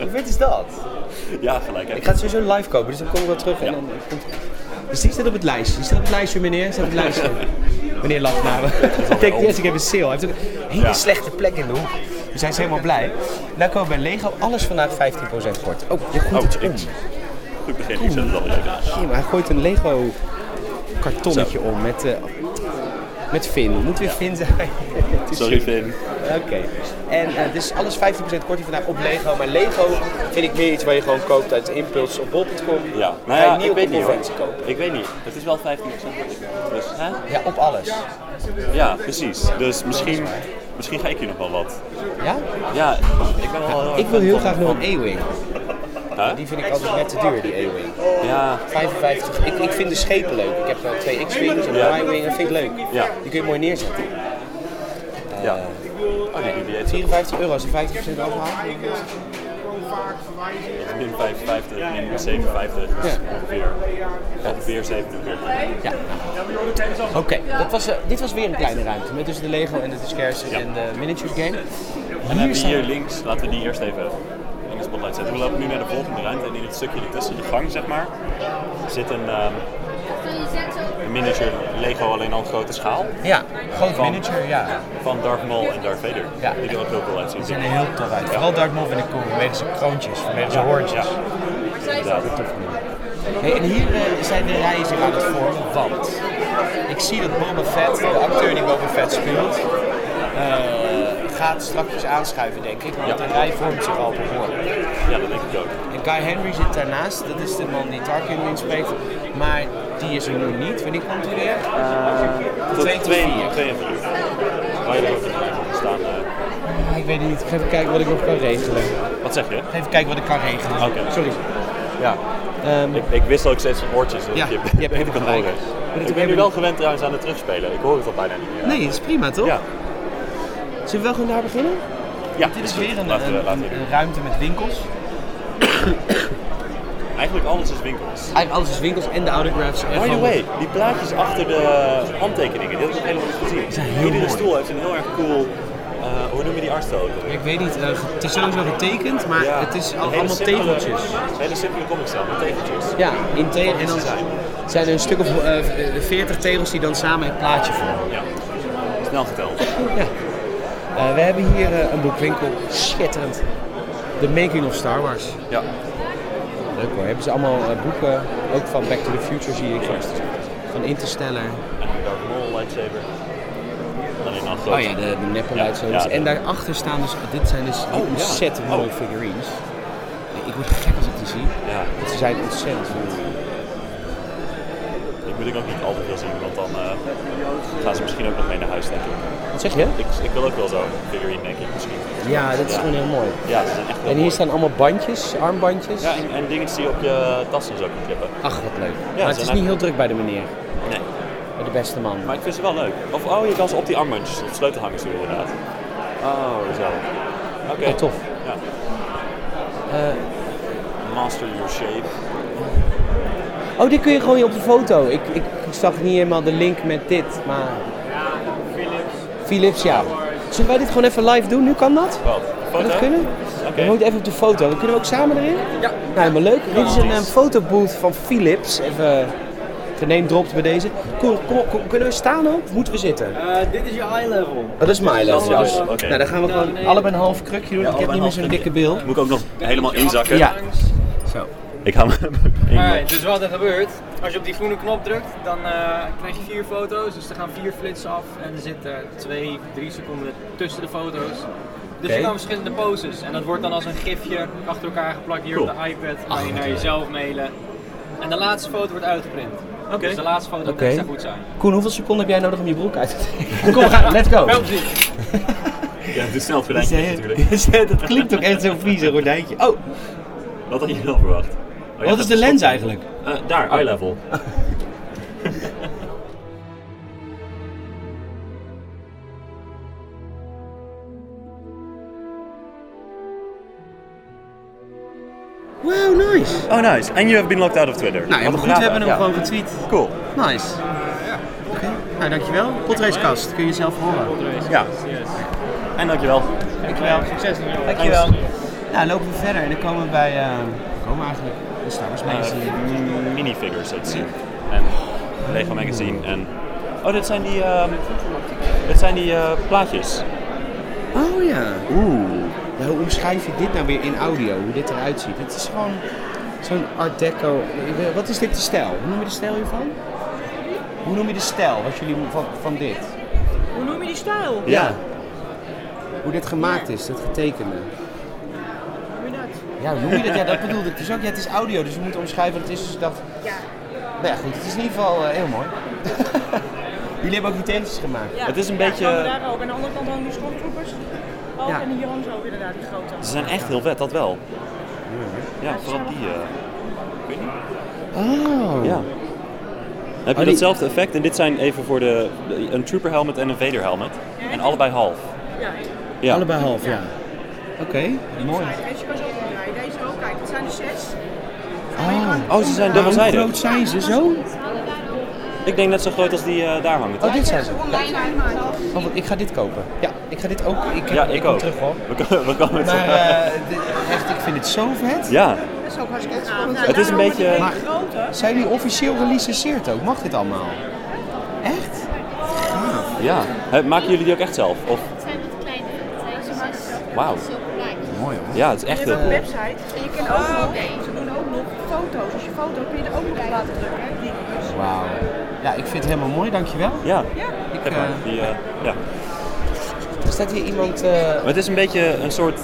Speaker 1: Hoe vet is dat?
Speaker 2: Ja, gelijk. Hè?
Speaker 1: Ik ga het sowieso live kopen, dus dan kom ik wel terug. En
Speaker 2: Ja.
Speaker 1: dan komt... Dus die staat op het lijstje. Die staat op het lijstje, meneer. Die staat op het lijstje. meneer lacht naar me. Ik denk, yes, ik heb een sale. Hij heeft ook een hele
Speaker 2: Ja.
Speaker 1: slechte plek in de hoek. We zijn ze helemaal blij. Nou komen we bij Lego. Alles vandaag 15% kort. Oh, je gooit
Speaker 2: Oh,
Speaker 1: iets
Speaker 2: ik-
Speaker 1: om.
Speaker 2: Goed begin, ik zet het alweer uit.
Speaker 1: Jim, hij gooit een Lego kartonnetje
Speaker 2: Zo.
Speaker 1: om met, eh met Finn. Het Moet weer Finn zijn. Het is
Speaker 2: Sorry, Finn.
Speaker 1: Oké. En eh, dus alles 15% korting vandaag op Lego. Maar Lego vind ik meer iets waar je gewoon koopt uit impuls op bol.com.
Speaker 2: Ja.
Speaker 1: Ga je niet op een conventie
Speaker 2: hoor.
Speaker 1: kopen.
Speaker 2: Ik weet niet. Het is wel 15%. Dus, hè?
Speaker 1: Ja, op alles.
Speaker 2: Ja, precies. Dus misschien, misschien ga ik hier nog wel wat.
Speaker 1: Ja?
Speaker 2: Ja, ik ben wel heel erg
Speaker 1: Ik wil
Speaker 2: fan
Speaker 1: heel
Speaker 2: van-
Speaker 1: graag nog
Speaker 2: van-
Speaker 1: een E-Wing.
Speaker 2: Hè?
Speaker 1: Die vind ik altijd net te duur, die E-Wing.
Speaker 2: Ja,
Speaker 1: 55. Ik, ik vind de schepen leuk. Ik heb eh, twee X-Wings en
Speaker 2: Ja.
Speaker 1: een Y-Wing. Dat vind ik leuk.
Speaker 2: Ja.
Speaker 1: Die kun je mooi neerzetten.
Speaker 2: ja. Oh, die BB-8 is
Speaker 1: 54 euro als je 50% afhaalt.
Speaker 2: min 55, min 57. Dus
Speaker 1: Ja.
Speaker 2: ongeveer, ongeveer 47.
Speaker 1: Ja. Oké, dat was, eh, dit was weer een kleine ruimte. Met dus de Lego en de Discarce en de miniature game.
Speaker 2: En dan hebben we
Speaker 1: staan-
Speaker 2: hier links, laten we die eerst even in de spotlight zetten. We lopen nu naar de volgende ruimte en in het stukje ertussen, de gang zeg maar, zit een, ehm, een miniature Lego alleen al op grote schaal
Speaker 1: Ja, gewoon
Speaker 2: Van-
Speaker 1: miniature, ja.
Speaker 2: van Darth Maul en Darth Vader.
Speaker 1: Ja.
Speaker 2: Die er ook heel cool uitzien.
Speaker 1: Die zijn er heel tof uit. Vooral Dark Maul vind ik cool, vanwege zijn kroontjes, vanwege zijn hoortjes.
Speaker 2: inderdaad.
Speaker 1: Hey, en hier eh, zijn de rijen zich aan het vormen, want ik zie dat Boba Fett, de acteur die Boba Fett speelt, eh, gaat strakjes aanschuiven, denk ik. Want
Speaker 2: Ja.
Speaker 1: de rij vormt zich al behoorlijk.
Speaker 2: Ja, dat denk ik ook.
Speaker 1: En Guy Henry zit daarnaast, dat is de man die Tarkin inspreekt, maar die is er nu niet. Wanneer komt hij weer?
Speaker 2: Tot
Speaker 1: Eh, Twee tot vier.
Speaker 2: 42 uur. Waar je ook in staan. eh,
Speaker 1: Ah, ik weet het niet, ik ga even kijken wat ik nog kan regelen.
Speaker 2: wat zeg je?
Speaker 1: Even kijken wat ik kan regelen.
Speaker 2: Oké.
Speaker 1: Sorry. Ja. Ehm,
Speaker 2: Ik, ik wissel ook steeds oortjes. Dus
Speaker 1: Ja,
Speaker 2: je,
Speaker 1: je hebt helemaal
Speaker 2: kan
Speaker 1: gelijk.
Speaker 2: horen.
Speaker 1: Maar dat
Speaker 2: Ik ben
Speaker 1: ook
Speaker 2: nu
Speaker 1: helemaal-
Speaker 2: wel gewend trouwens aan het terugspelen. Ik hoor het al bijna niet meer.
Speaker 1: Nee, dat is prima toch?
Speaker 2: Ja.
Speaker 1: Zullen we wel gewoon daar beginnen?
Speaker 2: Ja,
Speaker 1: Dit is
Speaker 2: goed.
Speaker 1: dus weer een,
Speaker 2: Laten we-
Speaker 1: een-
Speaker 2: laten we
Speaker 1: een
Speaker 2: doen.
Speaker 1: ruimte met winkels. eh,
Speaker 2: Eigenlijk alles is winkels.
Speaker 1: Eigenlijk alles is winkels en de autographs.
Speaker 2: By the way, die plaatjes achter de handtekeningen, die had ik nog helemaal niet gezien.
Speaker 1: zijn heel
Speaker 2: Iedere
Speaker 1: mooi.
Speaker 2: stoel heeft een heel erg cool, eh, hoe noem je die artstijl? ook alweer?
Speaker 1: Ik weet niet, eh, het is sowieso getekend, maar
Speaker 2: Ja,
Speaker 1: het is
Speaker 2: een
Speaker 1: al-
Speaker 2: hele
Speaker 1: allemaal
Speaker 2: simpele-
Speaker 1: tegeltjes.
Speaker 2: Een hele simpele comicstijl met tegeltjes.
Speaker 1: Ja, in tegel. En dan zijn er een stuk of eh, veertig 40 tegels die dan samen het plaatje vormen.
Speaker 2: Ja, snel geteld.
Speaker 1: Eh, we hebben hier eh, een boekwinkel. Schitterend. The Making of Star Wars.
Speaker 2: Ja.
Speaker 1: Leuk hoor. Hebben ze allemaal eh, boeken, ook van Back to the Future zie ik vast. Van Interstellar.
Speaker 2: Dark Maul lightsaber. Alleen al groot.
Speaker 1: Oh ja, de, de neppe
Speaker 2: Ja,
Speaker 1: lightsabers.
Speaker 2: ja, de-
Speaker 1: en daarachter staan dus, dit zijn dus die
Speaker 2: ja.
Speaker 1: ontzettend mooie
Speaker 2: Oh.
Speaker 1: figurines. Nee, Ik word gek als ik die zie.
Speaker 2: Ja,
Speaker 1: Want ze zijn ontzettend mooi.
Speaker 2: die moet ik ook niet altijd veel zien, want dan eh, gaan ze misschien ook nog mee naar huis, denk ik.
Speaker 1: Wat zeg je?
Speaker 2: Ik, ik wil ook wel zo'n figurine, denk ik, misschien.
Speaker 1: Ja, dat is
Speaker 2: Ja.
Speaker 1: gewoon heel mooi.
Speaker 2: Ja, ze zijn echt heel
Speaker 1: En
Speaker 2: mooi.
Speaker 1: hier staan allemaal bandjes, armbandjes.
Speaker 2: Ja, en, en dingetjes die je op je tassen zo kunt klippen.
Speaker 1: Ach, wat leuk.
Speaker 2: zijn
Speaker 1: maar het is
Speaker 2: echt-
Speaker 1: niet heel druk bij de meneer,
Speaker 2: Nee.
Speaker 1: bij de beste man.
Speaker 2: Maar ik vind ze wel leuk. Of oh, je kan ze op die armbandjes, op sleutelhangers doen inderdaad. Oh, zo. Oké.
Speaker 1: Oh, tof.
Speaker 2: Ja.
Speaker 1: Eh,
Speaker 2: Master your shape.
Speaker 1: oh, dit kun je gewoon op de foto. Ik, ik, ik zag niet helemaal de link met dit, maar... Philips, ja. Zullen wij dit gewoon even live doen? Nu kan dat?
Speaker 2: Wat?
Speaker 1: Kan
Speaker 2: Foto?
Speaker 1: dat kunnen?
Speaker 2: Oké.
Speaker 1: We moeten even op de foto. Kunnen we ook samen erin? Ja. Nou, helemaal leuk. Dit is een eh, fotobooth van Philips. Even eh, geneemdropt bij deze. Kom, kom, kom, kunnen we staan ook? Moeten we zitten?
Speaker 4: Eh, dit is je eye level.
Speaker 1: Oh, dat is my level.
Speaker 4: Ja,
Speaker 1: dus,
Speaker 2: oké.
Speaker 1: Nou, dan gaan we gewoon allebei een half krukje doen. ik heb niet meer zo'n dikke beeld.
Speaker 2: Moet ik ook nog helemaal inzakken?
Speaker 1: Ja. Zo.
Speaker 2: Ik ga me
Speaker 4: Alright, dus wat er gebeurt, als je op die groene knop drukt, dan eh, krijg je vier foto's. Dus er gaan vier flitsen af en er zitten twee, drie seconden tussen de foto's. Dus
Speaker 1: Oké.
Speaker 4: je kan verschillende poses en dat wordt dan als een gifje achter elkaar geplakt hier op
Speaker 2: Cool.
Speaker 4: de iPad. Kan
Speaker 1: Ah,
Speaker 4: je naar jezelf mailen. En de laatste foto wordt uitgeprint. Oké. Dus de laatste foto moet
Speaker 1: Oké.
Speaker 4: extra goed zijn.
Speaker 1: Koen, hoeveel seconden heb jij nodig om je broek uit te trekken? Kom, we gaan. Let's go.
Speaker 4: Wel plezier.
Speaker 2: Ja, het is snel verdenken natuurlijk.
Speaker 1: dat klinkt ook echt zo vies, een gordijntje. Oh,
Speaker 2: Wat had je wel verwacht? Oh, ja,
Speaker 1: wat is de
Speaker 2: dat-
Speaker 1: lens eigenlijk?
Speaker 2: Eh, daar, eye level.
Speaker 1: Nice.
Speaker 2: Oh, nice. And you have been locked out of Twitter.
Speaker 1: Nou,
Speaker 2: Wat
Speaker 1: helemaal
Speaker 2: een
Speaker 1: goed.
Speaker 2: braaf
Speaker 1: We hebben hem
Speaker 2: uit.
Speaker 1: gewoon
Speaker 2: Ja.
Speaker 1: getweet.
Speaker 2: Cool.
Speaker 1: Nice. Oké. Nou, dankjewel. Potracecast. Kun je zelf horen.
Speaker 2: Ja. En dankjewel.
Speaker 1: Dankjewel.
Speaker 4: Succes nu.
Speaker 1: Dankjewel. Nou, lopen we verder en dan komen we bij... eh, komen we eigenlijk de Star Wars Magazine.
Speaker 2: Eh, minifigures heet ze. En Lego Magazine en... Oh, dit zijn die... ehm, dit zijn die eh, plaatjes.
Speaker 1: Oh ja.
Speaker 2: Oeh.
Speaker 1: Ja, hoe omschrijf je dit nou weer in audio? Hoe dit eruit ziet? Het is gewoon zo'n art deco. Wat is dit de stijl? Hoe noem je de stijl hiervan? Hoe noem je de stijl wat jullie van, van dit?
Speaker 5: Hoe noem je die stijl?
Speaker 1: Ja. Hoe dit gemaakt is, dat getekende.
Speaker 5: Hoe noem je dat?
Speaker 1: Ja, hoe noem je dat? Ja, dat bedoelde ik dus ook. Ja, het is audio, dus we moeten omschrijven wat het is. Dus ik dacht... Ja. Nou ja, goed. Het is in ieder geval eh, heel mooi. jullie hebben ook die telentjes gemaakt.
Speaker 5: Ja.
Speaker 2: Het is een
Speaker 5: Ja,
Speaker 2: beetje- eh,
Speaker 5: zo daar ook. En aan de andere kant hangen die stormtroopers. Oh,
Speaker 1: Ja.
Speaker 5: en hier hangen ze ook inderdaad, die grote.
Speaker 2: Ze zijn echt heel vet, dat wel. Ja, vooral die... eh,
Speaker 1: Oh.
Speaker 2: ja. Heb je
Speaker 1: die-
Speaker 2: datzelfde effect? En dit zijn even voor de... Een trooper helmet en een vader helmet. En allebei half.
Speaker 5: Ja.
Speaker 2: Ja.
Speaker 1: Allebei half, ja. Oké, mooi.
Speaker 5: En je kan zo draaien. Deze ook, kijk. Het zijn er zes.
Speaker 1: Oh,
Speaker 2: Oh, ze zijn
Speaker 1: hoe
Speaker 2: dubbelzijdig.
Speaker 1: groot zijn ze? Zo?
Speaker 2: Ik denk net zo groot als die eh, daar hangen.
Speaker 1: Oh, dit zijn ze.
Speaker 5: Online aanmaken.
Speaker 1: Oh, wat- ik ga dit kopen. Ja, ik ga dit ook. Ik,
Speaker 2: Ja, ik
Speaker 1: kom
Speaker 2: ook.
Speaker 1: terug hoor.
Speaker 2: We komen, we komen
Speaker 1: Maar
Speaker 2: terug.
Speaker 1: eh, dit- echt, ik vind het zo vet.
Speaker 2: Ja,
Speaker 5: Dat is ook hartstikke gaaf.
Speaker 2: Het is een beetje-
Speaker 5: Maar...
Speaker 1: Maar- Zijn jullie officieel gelicenseerd ook? Mag dit allemaal? Echt?
Speaker 2: ja. Hè, Maken jullie die ook echt zelf? Of,
Speaker 6: Het zijn wat kleiner. Het zijn zo makkelijk.
Speaker 2: Wauw.
Speaker 6: Het is heel klein.
Speaker 1: Mooi hoor.
Speaker 2: ja, het is echt
Speaker 5: Je hebt
Speaker 2: heel
Speaker 5: ook een
Speaker 2: cool.
Speaker 5: website Oh, en je kan ook nog, ze doen ook nog foto's. Als je foto kun je er ook nog op laten drukken. hè, die dus.
Speaker 1: Wauw. Ja, ik vind het helemaal mooi, dankjewel.
Speaker 2: Ja,
Speaker 1: Ik,
Speaker 2: Kijk maar, die, eh, ja.
Speaker 1: er staat hier iemand... eh,
Speaker 2: Maar het is een beetje een soort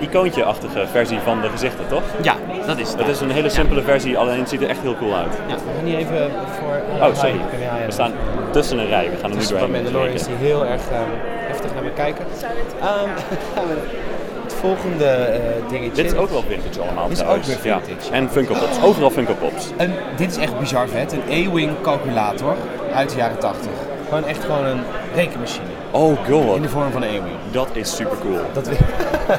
Speaker 2: icoontje-achtige versie van de gezichten, toch?
Speaker 1: Ja, dat is
Speaker 2: Het is een hele simpele versie, alleen het ziet er echt heel cool uit.
Speaker 1: Ja, we gaan hier even voor...
Speaker 2: Oh, sorry. We staan tussen een rij. We gaan er nu
Speaker 1: Dus van
Speaker 2: doorheen. met z'n
Speaker 1: Mandalorians die
Speaker 2: tweeën.
Speaker 1: heel erg eh, heftig naar me kijken. Ehm, gaan we- het volgende eh, dingetje...
Speaker 2: Dit is ook wel vintage allemaal
Speaker 1: Dit is
Speaker 2: trouwens.
Speaker 1: ook weer vintage,
Speaker 2: Ja. En Funko Pops. Overal Funko Pops.
Speaker 1: Een, Ehm, dit is echt bizar vet, een A-Wing calculator uit de jaren 80. Gewoon echt gewoon een rekenmachine
Speaker 2: Oh
Speaker 1: in de
Speaker 2: god.
Speaker 1: vorm van een A-Wing.
Speaker 2: Dat is super cool.
Speaker 1: Dat wil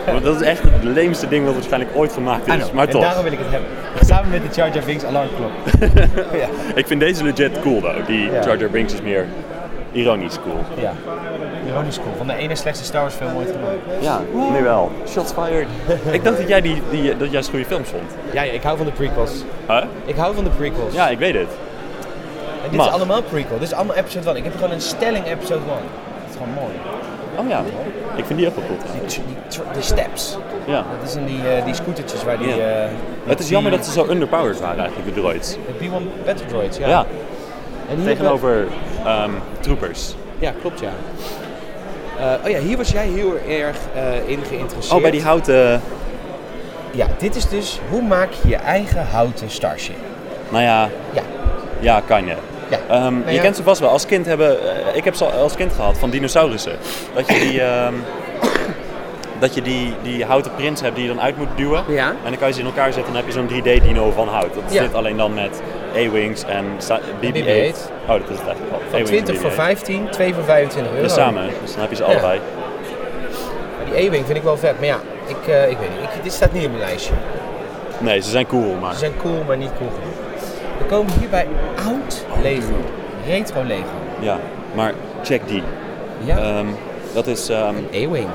Speaker 2: Want Dat is echt het leemste ding wat waarschijnlijk ooit gemaakt
Speaker 1: I
Speaker 2: is.
Speaker 1: know.
Speaker 2: Dus, Maar
Speaker 1: en
Speaker 2: toch.
Speaker 1: daarom wil ik het hebben. Samen met de Charger Wings alarmklok. ja.
Speaker 2: Ik vind deze legit cool, though. Die
Speaker 1: Ja.
Speaker 2: Charger Brinks is meer ironisch cool.
Speaker 1: ja. Ironisch cool. Van de ene slechtste Star Wars film ooit gemaakt.
Speaker 2: Ja, nu wel. Shots fired. ik dacht dat jij die, die, dat juist goede films vond.
Speaker 1: Ja, ja, ik hou van de prequels.
Speaker 2: Huh?
Speaker 1: Ik hou van de prequels.
Speaker 2: Ja, ik weet het.
Speaker 1: en dit
Speaker 2: mag.
Speaker 1: is allemaal prequel. Dit is allemaal episode 1. Ik heb gewoon een stelling episode 1. Dat is gewoon mooi.
Speaker 2: Oh ja. Ik vind die ook wel cool trouwens.
Speaker 1: Die, die tr- die steps.
Speaker 2: Ja.
Speaker 1: Dat is in die, eh, die scootertjes waar die...
Speaker 2: Ja.
Speaker 1: eh,
Speaker 2: Het is jammer dat ze zo underpowered waren eigenlijk, de droids.
Speaker 1: De B-1 Battle Droids, ja.
Speaker 2: Ja,
Speaker 1: En hier
Speaker 2: tegenover ehm, troopers.
Speaker 1: Ja, klopt ja. Eh, oh ja, hier was jij heel erg eh, in geïnteresseerd.
Speaker 2: Oh, bij die houten...
Speaker 1: Ja, dit is dus hoe maak je je eigen houten starship.
Speaker 2: Nou ja,
Speaker 1: Ja,
Speaker 2: ja, kan je.
Speaker 1: ja.
Speaker 2: Ehm,
Speaker 1: Nou
Speaker 2: je
Speaker 1: ja,
Speaker 2: kent ze vast wel. Als kind hebben, eh, ik heb ze al als kind gehad van dinosaurussen. Dat je die, ehm, dat je die, die houten prins hebt die je dan uit moet duwen.
Speaker 1: Ja.
Speaker 2: En dan kan je ze in elkaar zetten en dan heb je zo'n 3D-dino van hout. Dat is
Speaker 1: Ja.
Speaker 2: dit alleen dan met A-Wings en sa- BB-8.
Speaker 1: BB-8.
Speaker 2: Oh, dat is het eigenlijk al.
Speaker 1: Van
Speaker 2: A-Wings
Speaker 1: 20
Speaker 2: en
Speaker 1: voor
Speaker 2: BB-8.
Speaker 1: 15, 2 voor 25 euro.
Speaker 2: Dus eh, samen, dus dan heb je ze allebei.
Speaker 1: Maar Die E-Wing vind ik wel vet, maar ja, ik, eh, ik weet niet. Ik- dit staat niet op mijn lijstje.
Speaker 2: Nee, ze zijn cool, maar...
Speaker 1: Ze zijn cool, maar niet cool genoeg. We komen hier bij oud
Speaker 2: Oh,
Speaker 1: Lego. Retro Lego.
Speaker 2: Ja, maar check die.
Speaker 1: Ja,
Speaker 2: Ehm, dat is... ehm,
Speaker 1: E-Wing.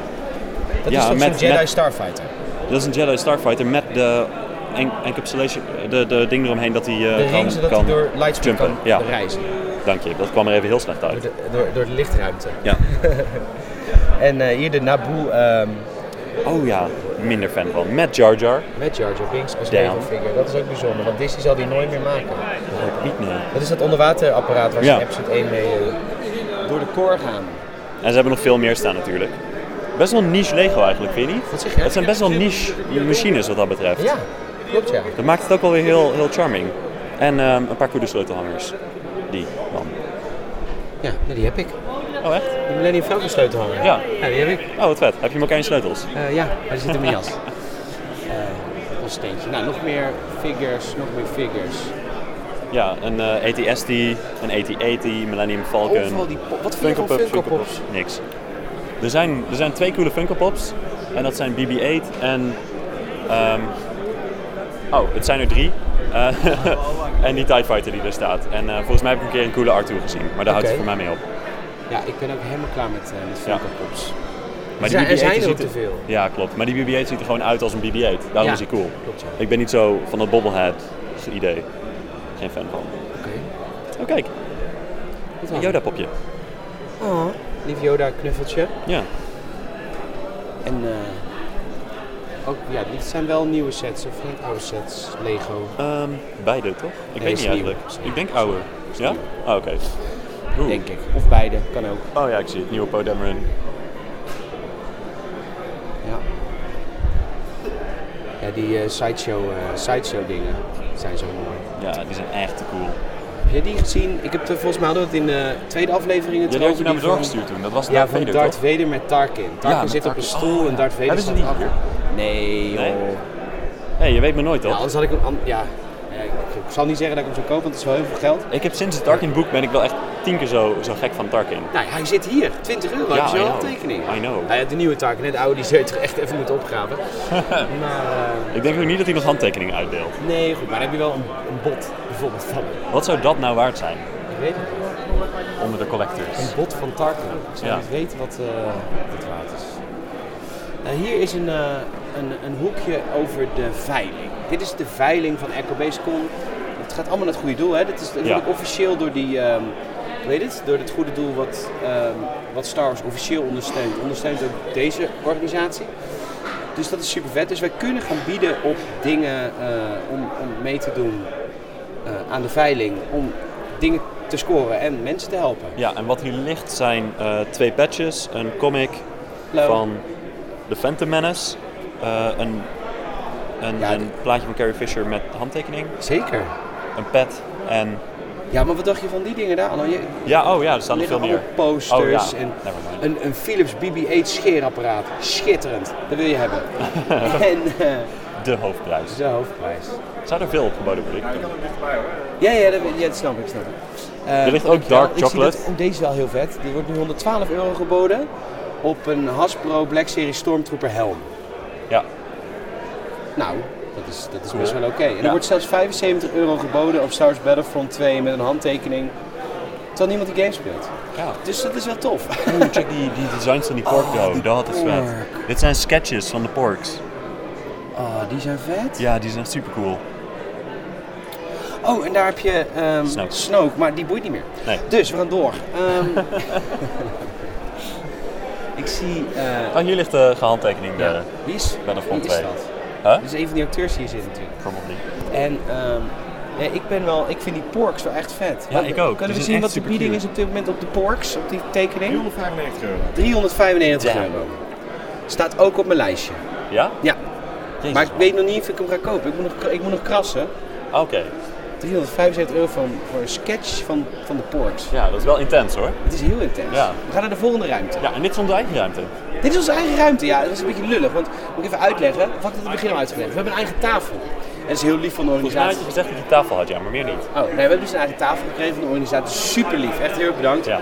Speaker 1: Dat
Speaker 2: ja,
Speaker 1: is toch zo'n
Speaker 2: met-
Speaker 1: Jedi
Speaker 2: met- eh,
Speaker 1: Starfighter?
Speaker 2: Dat is een Jedi Starfighter met de en- encapsulation, de, de ding eromheen dat hij eh,
Speaker 1: De
Speaker 2: kan,
Speaker 1: ring zodat
Speaker 2: kan
Speaker 1: hij door lightspeed
Speaker 2: jumpen.
Speaker 1: kan
Speaker 2: ja.
Speaker 1: reizen.
Speaker 2: Dank je, dat kwam er even heel slecht
Speaker 1: Door
Speaker 2: uit.
Speaker 1: de, door, door de lichtruimte.
Speaker 2: Ja.
Speaker 1: En eh, hier de Naboo ehm
Speaker 2: Oh ja, minder fan van. Met Jar Jar.
Speaker 1: met Jar Jar Binks als
Speaker 2: Damn.
Speaker 1: Lego figure. Dat is ook bijzonder, want Disney zal die nooit meer maken.
Speaker 2: Niet nee.
Speaker 1: Dat is dat onderwaterapparaat waar ze
Speaker 2: Ja.
Speaker 1: in episode 1 mee eh, door de core gaan.
Speaker 2: En ze hebben nog veel meer staan natuurlijk. Best wel niche Lego eigenlijk, vind je niet?
Speaker 1: Wat zeg je?
Speaker 2: Het zijn best wel niche machines wat dat betreft.
Speaker 1: Ja, klopt ja.
Speaker 2: Dat maakt het ook wel weer heel, heel charming. En ehm, een paar coole sleutelhangers. Die dan.
Speaker 1: Ja, nee, die heb ik.
Speaker 2: Oh echt?
Speaker 1: De Millennium Falcon sleutelhanger.
Speaker 2: Ja.
Speaker 1: ja, die heb ik.
Speaker 2: Oh wat vet. Heb je elkaar in sleutels?
Speaker 1: Eh, ja, hij zit in mijn jas. Eh, Ons steentje. Nou, nog meer figures, nog meer figures.
Speaker 2: Ja, een eh ATST, een AT-80, Millennium Falcon.
Speaker 1: Overal die pop- wat vind je
Speaker 2: eh, Funko
Speaker 1: van
Speaker 2: Pops,
Speaker 1: Funko
Speaker 2: Funko
Speaker 1: Pops?
Speaker 2: Pops, Niks. Er zijn, er zijn twee coole Funko Pops. En dat zijn BB-8 en... ehm, oh, het zijn er drie. Eh, en die TIE Fighter die daar staat. En eh, volgens mij heb ik een keer een coole Arthur gezien. Maar daar houdt het
Speaker 1: Oké.
Speaker 2: voor mij mee op.
Speaker 1: Ja, ik ben ook helemaal klaar met, eh met
Speaker 2: Ja.
Speaker 1: Funko-pops.
Speaker 2: Maar
Speaker 1: Er zijn- er
Speaker 2: BB-8
Speaker 1: zijn er
Speaker 2: ziet
Speaker 1: ook te veel.
Speaker 2: Ja, klopt. Maar die BB-8 ziet er gewoon uit als een BB-8. Daarom
Speaker 1: Ja,
Speaker 2: is hij cool.
Speaker 1: klopt, ja.
Speaker 2: Ik ben niet zo van dat bobblehead idee. Geen fan van.
Speaker 1: Oké.
Speaker 2: Oh, kijk.
Speaker 1: Wat
Speaker 2: Een
Speaker 1: dan?
Speaker 2: Yoda-popje.
Speaker 1: Oh, lief Yoda knuffeltje.
Speaker 2: Ja.
Speaker 1: En eh, ook, ja, dit zijn wel nieuwe sets of van oude sets, Lego.
Speaker 2: Ehm, beide, toch? Ik weet niet
Speaker 1: is nieuw.
Speaker 2: eigenlijk.
Speaker 1: Is nieuw.
Speaker 2: Ik denk oude.
Speaker 1: Is
Speaker 2: Ja?
Speaker 1: nieuw.
Speaker 2: Oh, oké. Oeh.
Speaker 1: Denk ik. Of beide, kan ook.
Speaker 2: Oh ja, ik zie het. Nieuwe Poe Dameron.
Speaker 1: Ja. Ja, die eh, sideshow, eh, sideshow dingen zijn zo mooi.
Speaker 2: Ja, die zijn echt te cool.
Speaker 1: Heb jij die gezien? Ik heb er volgens mij hadden we het in de tweede aflevering. het
Speaker 2: Jullie had je
Speaker 1: over
Speaker 2: naar me
Speaker 1: die
Speaker 2: doorgestuurd toen. Dat was
Speaker 1: Ja,
Speaker 2: Darth
Speaker 1: van
Speaker 2: Vader,
Speaker 1: Darth
Speaker 2: toch?
Speaker 1: Vader met Tarkin. Tarkin
Speaker 2: met
Speaker 1: zit op een
Speaker 2: Tarkin.
Speaker 1: stoel
Speaker 2: Oh,
Speaker 1: en Darth Vader
Speaker 2: hebben ze die
Speaker 1: staat
Speaker 2: hier?
Speaker 1: achter. Nee, joh.
Speaker 2: Nee? hey, je weet me nooit,
Speaker 1: Ja,
Speaker 2: toch?
Speaker 1: anders had ik hem... an- Ja, Ja, ik, ik zal niet zeggen dat ik hem zou kopen, want het is wel heel veel geld.
Speaker 2: Ik heb sinds het Tarkin-boek ben ik wel echt tien keer zo, zo gek van Tarkin.
Speaker 1: Nou, hij zit hier. 20 euro,
Speaker 2: Ja,
Speaker 1: heb
Speaker 2: I
Speaker 1: je zo'n
Speaker 2: know.
Speaker 1: handtekening.
Speaker 2: I know.
Speaker 1: Nou ja, de nieuwe Tarkin, hè, de oude, die zou je toch echt even moeten opgraven. maar, eh,
Speaker 2: Ik denk ook niet dat hij nog handtekeningen uitdeelt.
Speaker 1: nee, goed, maar dan heb je wel een, een bot bijvoorbeeld van hem.
Speaker 2: Wat zou dat nou waard zijn
Speaker 1: Ik weet het niet.
Speaker 2: onder de collectors?
Speaker 1: Een bot van Tarkin. Ik zou
Speaker 2: Ja.
Speaker 1: niet weten wat, eh wat het waard is. Nou, hier is een, eh, een, een hoekje over de veiling. Dit is de veiling van EcoBaseCon. Het gaat allemaal naar het goede doel. Hè? Dit is natuurlijk officieel door die... ehm, hoe heet het? Door het goede doel wat, ehm, wat Star Wars officieel ondersteunt. Ondersteunt ook deze organisatie. Dus dat is super vet. Dus wij kunnen gaan bieden op dingen eh, om, om mee te doen eh, aan de veiling. Om dingen te scoren en mensen te helpen.
Speaker 2: Ja, en wat hier ligt zijn eh, twee patches, een comic
Speaker 1: Hallo.
Speaker 2: van The Phantom Menace, eh, een, een,
Speaker 1: Ja,
Speaker 2: een plaatje van Carrie Fisher met handtekening,
Speaker 1: Zeker.
Speaker 2: een pet en...
Speaker 1: Ja, maar wat dacht je van die dingen daar? Anno, je,
Speaker 2: Ja, oh ja, er staan
Speaker 1: er
Speaker 2: er veel
Speaker 1: liggen
Speaker 2: meer.
Speaker 1: allemaal posters
Speaker 2: Oh ja,
Speaker 1: en
Speaker 2: never mind.
Speaker 1: een, een Philips BB-8 scheerapparaat. Schitterend. Dat wil je hebben. en eh,
Speaker 2: De hoofdprijs.
Speaker 1: dat is de hoofdprijs.
Speaker 2: Zou er veel opgeboden worden?
Speaker 1: Ja, ja, dat, ja, dat snap ik, snap ik. Eh,
Speaker 2: Er ligt ook
Speaker 1: dankjewel.
Speaker 2: dark
Speaker 1: Ik zie dat-
Speaker 2: chocolate.
Speaker 1: oh, deze is wel heel vet. Die wordt nu 112 euro geboden op een Hasbro Black Series Stormtrooper helm.
Speaker 2: Ja,
Speaker 1: Nou, dat is, dat is
Speaker 2: Cool.
Speaker 1: best wel oké. En er
Speaker 2: Ja.
Speaker 1: wordt zelfs 75 euro geboden op Star Wars Battlefront 2 met een handtekening. Terwijl niemand die game speelt.
Speaker 2: ja.
Speaker 1: Dus dat is wel tof.
Speaker 2: Oeh, check die, die designs van die pork dough. Dat is vet.
Speaker 1: Oh, pork.
Speaker 2: Dit zijn sketches van de porks.
Speaker 1: Oh, die zijn vet.
Speaker 2: Ja, die zijn echt super cool.
Speaker 1: Oh, en daar heb je ehm
Speaker 2: Snoke.
Speaker 1: Snoke. maar die boeit niet meer.
Speaker 2: Nee.
Speaker 1: Dus we gaan door. Ehm, ik zie. eh,
Speaker 2: Oh, hier ligt de gehandtekening. eh,
Speaker 1: ja,
Speaker 2: Ja.
Speaker 1: wie is,
Speaker 2: Battlefront
Speaker 1: wie is
Speaker 2: 2.
Speaker 1: dat?
Speaker 2: Huh?
Speaker 1: Dat is een van die acteurs die hier zit natuurlijk.
Speaker 2: Probably.
Speaker 1: En ehm, nee, ik ben wel, ik vind die porks wel echt vet.
Speaker 2: Ja, ik ook. Die
Speaker 1: Kunnen
Speaker 2: zijn
Speaker 1: we zien
Speaker 2: echt
Speaker 1: wat de
Speaker 2: super
Speaker 1: bieding
Speaker 2: cute.
Speaker 1: is op dit moment op de porks, op die tekening?
Speaker 7: 195 euro.
Speaker 1: 395
Speaker 2: Damn.
Speaker 1: euro. Staat ook op mijn lijstje.
Speaker 2: Ja?
Speaker 1: Ja,
Speaker 2: Jezus,
Speaker 1: maar ik
Speaker 2: man.
Speaker 1: weet nog niet of ik hem ga kopen. Ik moet nog, ik moet nog krassen.
Speaker 2: Ah, Oké.
Speaker 1: 375 euro van, voor een sketch van, van de porks.
Speaker 2: Ja, dat is wel intens hoor.
Speaker 1: Het is heel intens.
Speaker 2: Ja.
Speaker 1: We gaan naar de volgende ruimte.
Speaker 2: Ja, en dit is onze eigen ruimte.
Speaker 1: Dit is onze eigen ruimte. Ja, dat is een beetje lullig. Want moet ik even uitleggen. Wat had ik in het begin al uitgelegd? We hebben een eigen tafel. En dat is heel lief van de
Speaker 2: Volgens mij had
Speaker 1: organisatie.
Speaker 2: je gezegd dat je tafel had, ja, maar meer niet.
Speaker 1: Oh, nee, we hebben dus een eigen tafel gekregen van de organisatie. Super lief. Echt heel erg bedankt.
Speaker 2: Ja,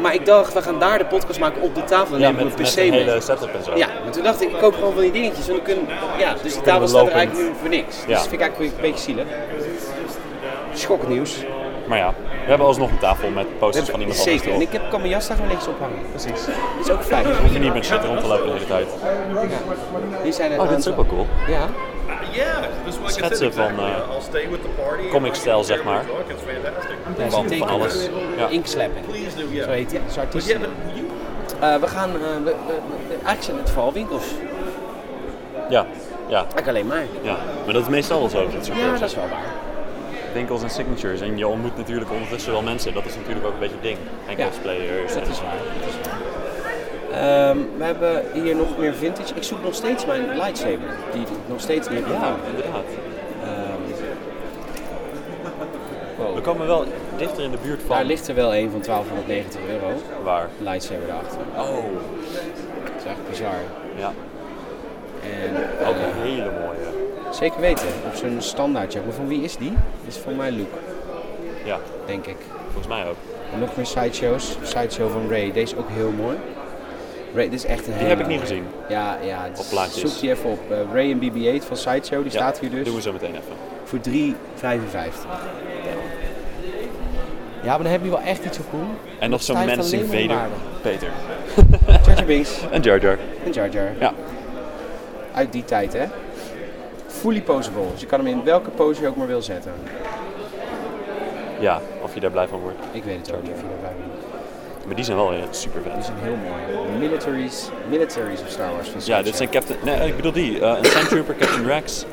Speaker 1: Maar ik dacht, we gaan daar de podcast maken op de tafel. Dan
Speaker 2: ja
Speaker 1: nemen we
Speaker 2: met,
Speaker 1: een pc
Speaker 2: met
Speaker 1: mee.
Speaker 2: een hele setup en zo.
Speaker 1: Ja, maar toen dacht ik, ik koop gewoon van die dingetjes. En dan kunnen, ja, dus die tafel
Speaker 2: we
Speaker 1: staat er
Speaker 2: lopend.
Speaker 1: eigenlijk nu voor niks. Dus
Speaker 2: Ja.
Speaker 1: dat vind ik eigenlijk een beetje zielig. Schoknieuws.
Speaker 2: Maar ja, we hebben alsnog een tafel met posters van iemand anders
Speaker 1: Zeker. En
Speaker 2: erop.
Speaker 1: ik heb, kan mijn jas daar gewoon niks ophangen. Precies. Dat is ook fijn.
Speaker 2: Hoef je niet met shit rond te lopen de hele tijd.
Speaker 1: Hier zijn er
Speaker 2: Oh, dit is
Speaker 1: aantal-
Speaker 2: ook wel cool.
Speaker 1: Ja.
Speaker 7: Yeah, this one
Speaker 2: Schetsen van, eh,
Speaker 7: I'll stay with the party.
Speaker 2: comicstijl, zeg maar.
Speaker 7: Look, it's fantastic.
Speaker 1: Ja,
Speaker 2: Want
Speaker 1: ze
Speaker 2: van alles.
Speaker 1: tekenen.
Speaker 2: Ja.
Speaker 1: Inkslappen.
Speaker 7: Please do,
Speaker 1: Zo
Speaker 7: yeah.
Speaker 1: heet die, dat is artiest.
Speaker 7: Yeah, but you
Speaker 1: Eh, we gaan, eh, we, we- we- eigenlijk zijn het vooral winkels.
Speaker 2: Ja, ja,
Speaker 1: Eigenlijk alleen maar.
Speaker 2: ja. Maar dat is meestal wel zo op dit soort
Speaker 1: Ja,
Speaker 2: beurzen.
Speaker 1: dat is wel waar.
Speaker 2: winkels en signatures. En je ontmoet natuurlijk ondertussen wel mensen. Dat is natuurlijk ook een beetje het ding. En
Speaker 1: Ja.
Speaker 2: cosplayers.
Speaker 1: Dat
Speaker 2: en-
Speaker 1: is waar. Dat is waar. Ehm, we hebben hier nog meer vintage. Ik zoek nog steeds mijn lightsaber, die ik nog steeds niet heb
Speaker 2: Ja,
Speaker 1: gevonden.
Speaker 2: inderdaad.
Speaker 1: Wow.
Speaker 2: We komen wel dichter in de buurt van
Speaker 1: Daar ligt er wel een van 1290 euro.
Speaker 2: waar.
Speaker 1: Lightsaber daarachter.
Speaker 2: Oh.
Speaker 1: Dat is echt bizar.
Speaker 2: Ja,
Speaker 1: En,
Speaker 2: ook
Speaker 1: eh,
Speaker 2: een hele mooie.
Speaker 1: zeker weten, op zo'n standaardje. Maar van wie is die? Dat is van mijn look,
Speaker 2: Ja,
Speaker 1: denk ik.
Speaker 2: volgens mij ook.
Speaker 1: En nog meer sideshows. Sideshow van Ray, deze is ook heel mooi. Ray, dit is echt een
Speaker 2: Die heb ik niet gezien.
Speaker 1: Ja, ja. dus
Speaker 2: Op plaatjes.
Speaker 1: Zoek die even op. eh, Ray en BB-8 van Sideshow, die staat hier dus.
Speaker 2: Doen we zo meteen even.
Speaker 1: Voor 3,55. Ja, maar dan heb je wel echt iets op cool.
Speaker 2: En nog zo'n
Speaker 1: stijgt
Speaker 2: mens in
Speaker 1: alleen maar
Speaker 2: Vader. Peter.
Speaker 1: Jar Jar Binks
Speaker 2: En Jar Jar.
Speaker 1: en Jar Jar.
Speaker 2: Ja.
Speaker 1: Uit die tijd, hè. Fully posable. Dus je kan hem in welke pose je ook maar wil zetten.
Speaker 2: Ja, of je daar blij van wordt.
Speaker 1: Ik weet het ook niet of je erbij bent.
Speaker 2: Maar die zijn wel eh, super
Speaker 1: Die
Speaker 2: vet.
Speaker 1: zijn heel mooi. Militaries, militaries of Star Wars van
Speaker 2: Ja,
Speaker 1: Sideshow.
Speaker 2: dit zijn Captain... Nee, ik bedoel die. eh, een Sandtrooper, Captain Rex.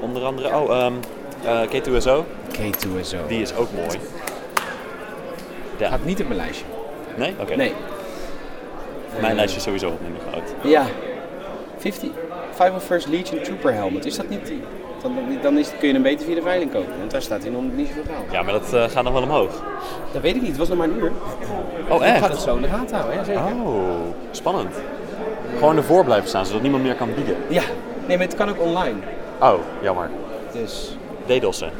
Speaker 2: Onder andere... Oh, ehm eh, K2SO.
Speaker 1: K2SO.
Speaker 2: Die is ook mooi. Ja.
Speaker 1: Gaat niet op mijn lijstje.
Speaker 2: Nee? Oké.
Speaker 1: Nee. Eh,
Speaker 2: Mijn lijstje is sowieso wat minder groot.
Speaker 1: Ja. 50, 501st Legion Trooper Helmet. Is dat niet die? Dan, dan is, kun je hem beter via de veiling kopen. Want daar staat hij nog niet zoveel geld.
Speaker 2: Ja, maar dat eh, gaat nog wel omhoog.
Speaker 1: Dat weet ik niet. Het was nog maar een uur.
Speaker 2: Oh,
Speaker 1: Ik ga
Speaker 2: echt?
Speaker 1: het zo in de gaten houden. Ja, zeker.
Speaker 2: Oh, spannend. Gewoon ervoor blijven staan, zodat niemand meer kan bieden.
Speaker 1: Ja. Nee, maar het kan ook online.
Speaker 2: Oh, jammer.
Speaker 1: Dus
Speaker 2: DDoS'en.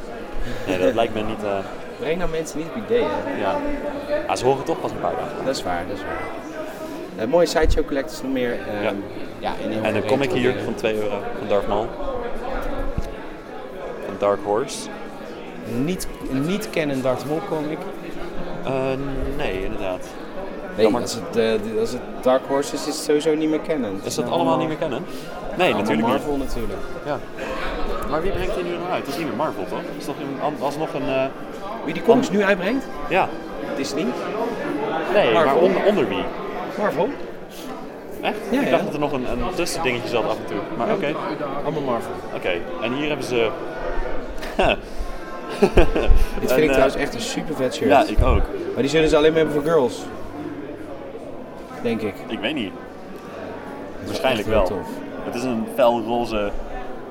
Speaker 2: Nee, dat lijkt me niet... eh,
Speaker 1: breng nou mensen niet op ideeën.
Speaker 2: ja. Ah, ze horen toch pas een paar dagen.
Speaker 1: Dat is waar, dat is waar. Eh, mooie sideshow collectors nog meer. ehm,
Speaker 2: Ja.
Speaker 1: ja, en, heel
Speaker 2: En dan
Speaker 1: veel
Speaker 2: kom ik
Speaker 1: retro
Speaker 2: hier
Speaker 1: dingen.
Speaker 2: van 2 euro van Darth Maul. Van Dark Horse.
Speaker 1: Niet, niet kennen Darth Maul comic.
Speaker 2: Eh, nee, inderdaad.
Speaker 1: Nee, als het, eh, als het Dark Horse is, is het sowieso niet meer kennen. Het
Speaker 2: Is dat
Speaker 1: nou
Speaker 2: allemaal niet meer kennen? Nee,
Speaker 1: allemaal
Speaker 2: natuurlijk niet.
Speaker 1: Marvel natuurlijk.
Speaker 2: Ja. Maar wie brengt die nu nog uit? Dat is niet meer Marvel, toch? Dat is toch een, an- alsnog een... eh,
Speaker 1: Wie die comics nu uitbrengt?
Speaker 2: ja.
Speaker 1: Disney.
Speaker 2: Nee, maar
Speaker 1: Marvel.
Speaker 2: onder, onder wie?
Speaker 1: Marvel.
Speaker 2: Echt?
Speaker 1: Ja,
Speaker 2: ik
Speaker 1: ja.
Speaker 2: dacht dat er nog een, een tussendingetje zat af en toe. Maar oké.
Speaker 1: Allemaal Marvel.
Speaker 2: Oké. En hier hebben ze...
Speaker 1: Dit vind ik trouwens echt een super vet
Speaker 2: eh,
Speaker 1: shirt.
Speaker 2: Ja, ik ook.
Speaker 1: Maar die zullen ze alleen maar hebben voor girls. Denk ik.
Speaker 2: Ik weet niet.
Speaker 1: Dat is
Speaker 2: Waarschijnlijk
Speaker 1: echt heel
Speaker 2: wel.
Speaker 1: tof.
Speaker 2: Het is een felroze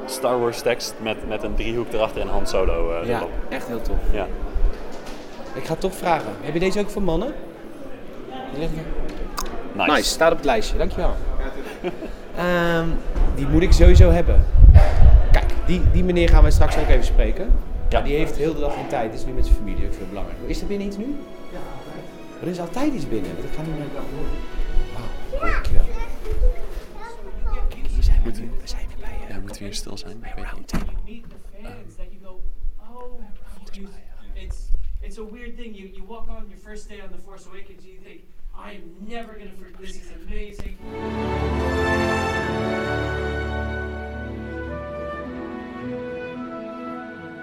Speaker 2: Star Wars tekst met, met een driehoek erachter en Han Solo eh,
Speaker 1: Ja,
Speaker 2: erop.
Speaker 1: echt heel tof.
Speaker 2: Ja.
Speaker 1: Ik ga het toch vragen. Heb je deze ook voor mannen? Die liggen-
Speaker 2: Nice.
Speaker 1: Nice, staat op het lijstje. Dankjewel. Ehm die moet ik sowieso hebben. Kijk, die, die meneer gaan wij straks ook even spreken.
Speaker 2: Ja.
Speaker 1: Die heeft heel de dag geen tijd, is nu met zijn familie ook veel belangrijker. Is er binnen iets nu? Ja. Er is altijd iets binnen, want ik ga nu naar... Wauw, dankjewel. Kijk, hier zijn we nu. We zijn weer bij... eh,
Speaker 2: moeten we hier stil zijn? Ik weet niet.
Speaker 8: you meet the fans that you go, oh, you just- it's it's a weird thing. You you walk on your first day on the Force Awakens, and you think, I am never gonna forget. This is amazing.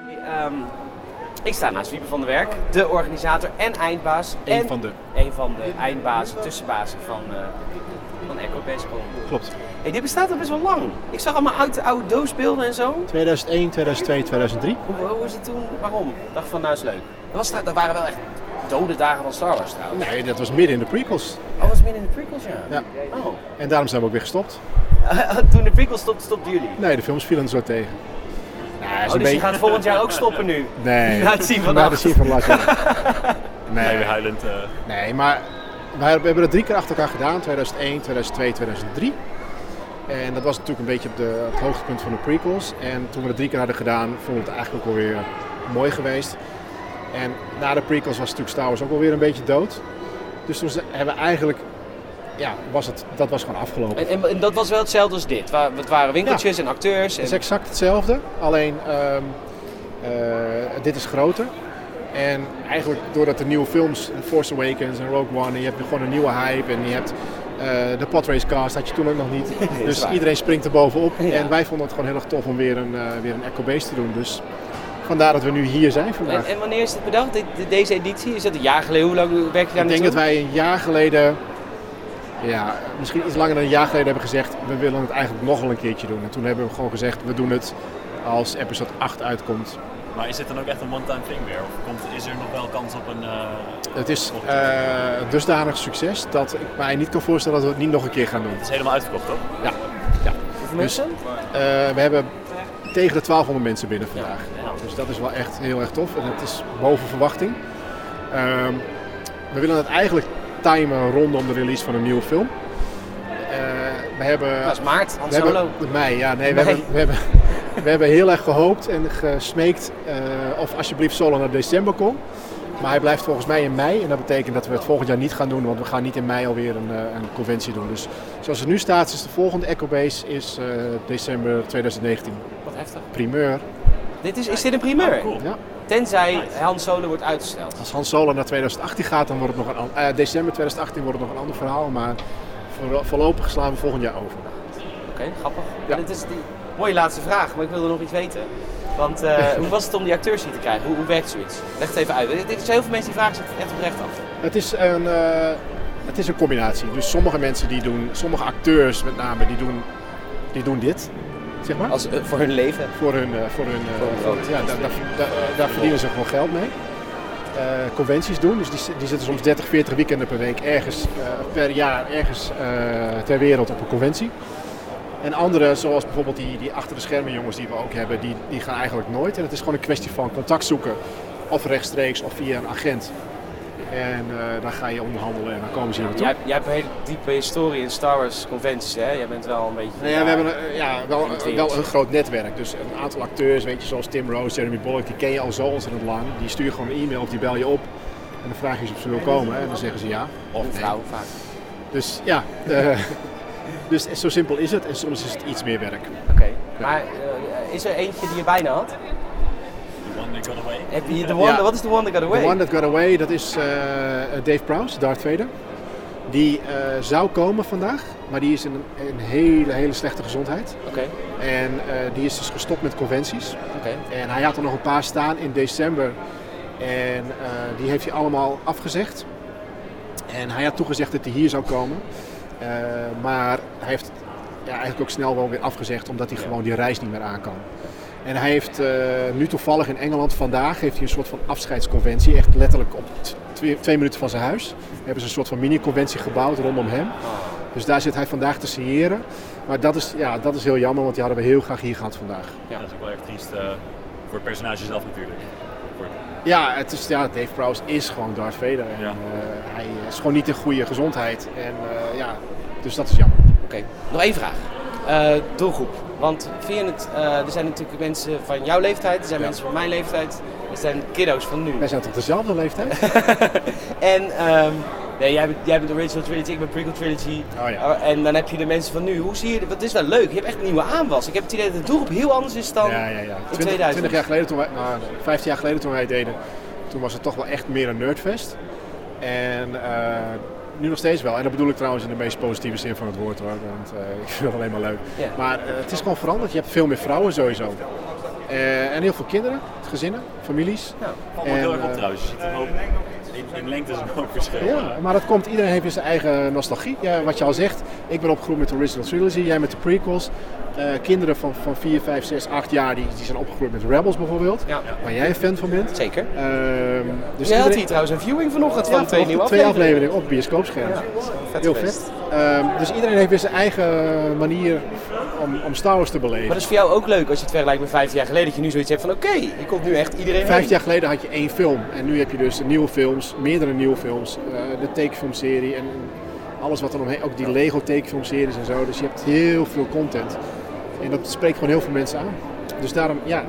Speaker 1: Ehm, ik sta naast Wiebe van der Werk, de organisator en eindbaas.
Speaker 9: Eén
Speaker 1: en
Speaker 9: van de.
Speaker 1: Een van de eindbazen, tussenbazen van, eh van Echo Baseball.
Speaker 9: Klopt.
Speaker 1: Hey, dit bestaat al best wel lang. Ik zag allemaal oude, oude doosbeelden en zo.
Speaker 9: 2001, 2002, 2003.
Speaker 1: Hoe, hoe is het toen? Waarom? Ik dacht van, nou is leuk. Dat, was, dat waren wel echt dode dagen van Star Wars trouwens.
Speaker 9: Nee, dat was midden in de prequels.
Speaker 1: Alles binnen de prequels, ja.
Speaker 9: Ja.
Speaker 1: Oh.
Speaker 9: En daarom zijn we ook weer gestopt.
Speaker 1: toen de prequels stopten, stopten jullie.
Speaker 9: Nee, de films vielen zo tegen. Nee, is
Speaker 1: Oh,
Speaker 9: een
Speaker 1: dus je
Speaker 9: beetje...
Speaker 1: gaat volgend jaar ook stoppen nu.
Speaker 9: Nee.
Speaker 1: Na het zien van
Speaker 9: Na het
Speaker 1: acht.
Speaker 9: zien van lachen.
Speaker 2: Nee,
Speaker 9: Nee,
Speaker 2: weer huilend. eh,
Speaker 9: nee, maar wij hebben dat drie keer achter elkaar gedaan. 2001, 2002, 2003. En dat was natuurlijk een beetje op de, op het hoogtepunt van de prequels. En toen we dat drie keer hadden gedaan, vonden we het eigenlijk ook alweer mooi geweest. En na de prequels was natuurlijk Star Wars ook alweer een beetje dood. Dus toen ze- hebben we eigenlijk... Ja, was het, dat was gewoon afgelopen.
Speaker 1: En, en, en dat was wel hetzelfde als dit. Wa- Het waren winkeltjes en acteurs. En...
Speaker 9: Het is exact hetzelfde, alleen ehm, eh, dit is groter. En eigenlijk doordat de nieuwe films, eh, Force Awakens en Rogue One, en je hebt gewoon een nieuwe hype en je hebt eh, de Podrace cast, had je toen ook nog niet. dus
Speaker 1: waar.
Speaker 9: iedereen springt er bovenop.
Speaker 1: Ja.
Speaker 9: En wij vonden het gewoon heel erg tof om weer een, eh, weer een Echo Base te doen. Dus vandaar dat we nu hier zijn vandaag.
Speaker 1: En, en wanneer is dit bedacht? Dit- dit- deze editie? Is dat een jaar geleden? Hoe lang werk je daar
Speaker 9: Ik denk dat
Speaker 1: naartoe?
Speaker 9: wij een jaar geleden, ja, misschien iets langer dan een jaar geleden hebben gezegd, we willen het eigenlijk nog wel een keertje doen. En toen hebben we gewoon gezegd, we doen het als episode 8 uitkomt.
Speaker 2: Maar is dit dan ook echt een one-time thing weer? Of komt, is er nog wel kans op een... eh,
Speaker 9: Het is
Speaker 2: volgend jaar?
Speaker 9: eh, dusdanig succes dat ik mij niet kan voorstellen dat we het niet nog een keer gaan doen.
Speaker 2: Het is helemaal uitverkocht, toch?
Speaker 9: Ja. ja.
Speaker 1: Hoeveel mensen?
Speaker 9: Eh, we hebben tegen de 1200 mensen binnen vandaag. Dus dat is wel echt heel erg tof. En het is boven verwachting. Ehm, we willen het eigenlijk timen rondom de release van een nieuwe film. Eh, we hebben
Speaker 1: Dat is maart, Han
Speaker 9: We
Speaker 1: Solo.
Speaker 9: hebben, mei, ja, nee, we
Speaker 1: Mei.
Speaker 9: hebben, we hebben, we hebben heel erg gehoopt en gesmeekt eh, of alsjeblieft Solo naar december kon. Maar hij blijft volgens mij in mei. En dat betekent dat we het volgend jaar niet gaan doen, want we gaan niet in mei alweer een, eh, een conventie doen. Dus zoals het nu staat, is de volgende EcoBase is eh, december 2019.
Speaker 1: Wat heftig.
Speaker 9: Primeur.
Speaker 1: Dit is, is dit een primeur?
Speaker 9: Ja.
Speaker 1: Tenzij Han Solo wordt uitgesteld.
Speaker 9: Als Han Solo naar 2018 gaat, dan wordt het nog een an- eh, december 2018 wordt het nog een ander verhaal. Maar voor- voorlopig slaan we volgend jaar over.
Speaker 1: Oké, grappig. Ja. Dit is die mooie laatste vraag, maar ik wilde nog iets weten. Want eh, hoe was het om die acteurs hier te krijgen? Hoe, hoe werkt zoiets? Leg het even uit. Dit- Dit is heel veel mensen die vragen zich echt oprecht af.
Speaker 9: Het is een, eh, het is een combinatie. Dus sommige mensen die doen, sommige acteurs met name, die doen, die doen dit. Zeg maar.
Speaker 1: Als, eh, voor hun leven?
Speaker 9: Voor hun, eh, voor hun, eh,
Speaker 1: Voor hun brood.
Speaker 9: ja, daar, daar, daar- daar verdienen ze gewoon geld mee. Eh, conventies doen, dus die, zi- die zitten soms 30, 40 weekenden per week ergens eh, per jaar ergens eh, ter wereld op een conventie. En anderen, zoals bijvoorbeeld die, die achter de schermen jongens die we ook hebben, die, die gaan eigenlijk nooit. En het is gewoon een kwestie van contact zoeken. Of rechtstreeks of via een agent. En eh dan ga je onderhandelen en dan komen ze hier naartoe.
Speaker 1: Jij, jij hebt een hele diepe historie in Star Wars conventies, hè? Jij bent wel een beetje...
Speaker 9: Nou ja, we hebben eh, ja, wel, eh,
Speaker 1: geïnteresseerd.
Speaker 9: wel een groot netwerk. Dus een aantal acteurs, weet je, zoals Tim Rose, Jeremy Bullock, die ken je al zo ontzettend lang. Die sturen gewoon een e-mail of die bel je op. En dan vraag je ze of ze wil komen. En dan zeggen ze ja. Of
Speaker 1: Een
Speaker 9: nee.
Speaker 1: vrouw vaak.
Speaker 9: Dus ja, eh, dus zo simpel is het. En soms is het iets meer werk.
Speaker 1: Oké. Maar eh, is er eentje die je bijna had? The
Speaker 2: one that got away.
Speaker 1: Heb je de one,
Speaker 9: Ja.
Speaker 1: Wat is de one that got away?
Speaker 9: The one that got away, dat is eh, Dave Prowse, Darth Vader. Die eh, zou komen vandaag, maar die is in een, een hele, hele slechte gezondheid.
Speaker 1: Oké.
Speaker 9: En eh, die is dus gestopt met conventies.
Speaker 1: Oké.
Speaker 9: En hij had er nog een paar staan in december. En eh, die heeft hij allemaal afgezegd. En hij had toegezegd dat hij hier zou komen. Eh, maar hij heeft ja, eigenlijk ook snel wel weer afgezegd, omdat hij gewoon die reis niet meer aan kan. En hij heeft eh, nu toevallig in Engeland vandaag heeft hij een soort van afscheidsconventie. Echt letterlijk op t- twee, twee minuten van zijn huis. Hebben ze een soort van mini-conventie gebouwd rondom hem. Dus daar zit hij vandaag te signeren. Maar dat is, ja, dat is heel jammer, want die hadden we heel graag hier gehad vandaag.
Speaker 2: Dat is ook wel erg triest eh, voor het personage zelf natuurlijk. Voor-
Speaker 9: Ja, het is, ja, Dave Prowse is gewoon Darth Vader. En, eh, hij is gewoon niet in goede gezondheid. En, eh, ja, dus dat is jammer.
Speaker 1: Oké, nog één vraag. Eh, doelgroep. Want via het, eh, er zijn natuurlijk mensen van jouw leeftijd, er zijn mensen van mijn leeftijd, er zijn kiddo's van nu.
Speaker 9: Wij zijn toch dezelfde leeftijd?
Speaker 1: En ehm, nee, jij, bent, jij bent Original Trilogy, ik ben Prequel Trilogy.
Speaker 9: Oh,
Speaker 1: Eh, En dan heb je de mensen van nu. Hoe zie je, wat is wel leuk, je hebt echt een nieuwe aanwas. Ik heb het idee dat de doelgroep heel anders is dan
Speaker 9: Ja, ja, ja.
Speaker 1: in
Speaker 9: 20,
Speaker 1: 2000.
Speaker 9: 20 jaar geleden, toen wij, nou, 15 jaar geleden toen wij het deden, toen was het toch wel echt meer een nerdfest. En eh, nu nog steeds wel. En dat bedoel ik trouwens in de meest positieve zin van het woord hoor. Want eh, ik vind het alleen maar leuk.
Speaker 1: Ja.
Speaker 9: Maar eh, het is gewoon veranderd. Je hebt veel meer vrouwen sowieso. Eh, en heel veel kinderen, gezinnen, families.
Speaker 1: Nou,
Speaker 2: Allemaal heel erg
Speaker 9: En,
Speaker 2: op
Speaker 9: eh,
Speaker 2: trouwens. Je ziet een hoop- in, in lengte is een hoop verschil.
Speaker 9: Ja, maar dat komt, iedereen heeft weer zijn eigen nostalgie. Ja, wat je al zegt, ik ben opgegroeid met de Original Trilogy, jij met de prequels. Eh, kinderen van, van 4, 5, 6, 8 jaar die, die zijn opgegroeid met Rebels bijvoorbeeld. Waar jij een fan van bent.
Speaker 1: Zeker.
Speaker 9: dus
Speaker 1: Jij had
Speaker 9: iedereen-
Speaker 1: hier trouwens een viewing vanochtend van
Speaker 9: Ja,
Speaker 1: twee nieuwe
Speaker 9: twee
Speaker 1: afleveringen.
Speaker 9: afleveringen op bioscoopscherm.
Speaker 1: Ja, vet
Speaker 9: Heel
Speaker 1: feest.
Speaker 9: vet. Ehm, dus iedereen heeft weer zijn eigen manier om, om Star Wars te beleven.
Speaker 1: Maar dat is voor jou ook leuk als je het vergelijkt met 15 jaar geleden. Dat je nu zoiets hebt van oké, je komt nu echt iedereen heen.
Speaker 9: Vijf jaar geleden had je één film en nu heb je dus nieuwe films, meerdere nieuwe films, eh, de tekenfilmserie en alles wat er omheen, ook die Lego tekenfilmseries en zo. Dus je hebt heel veel content en dat spreekt gewoon heel veel mensen aan. Dus daarom, ja.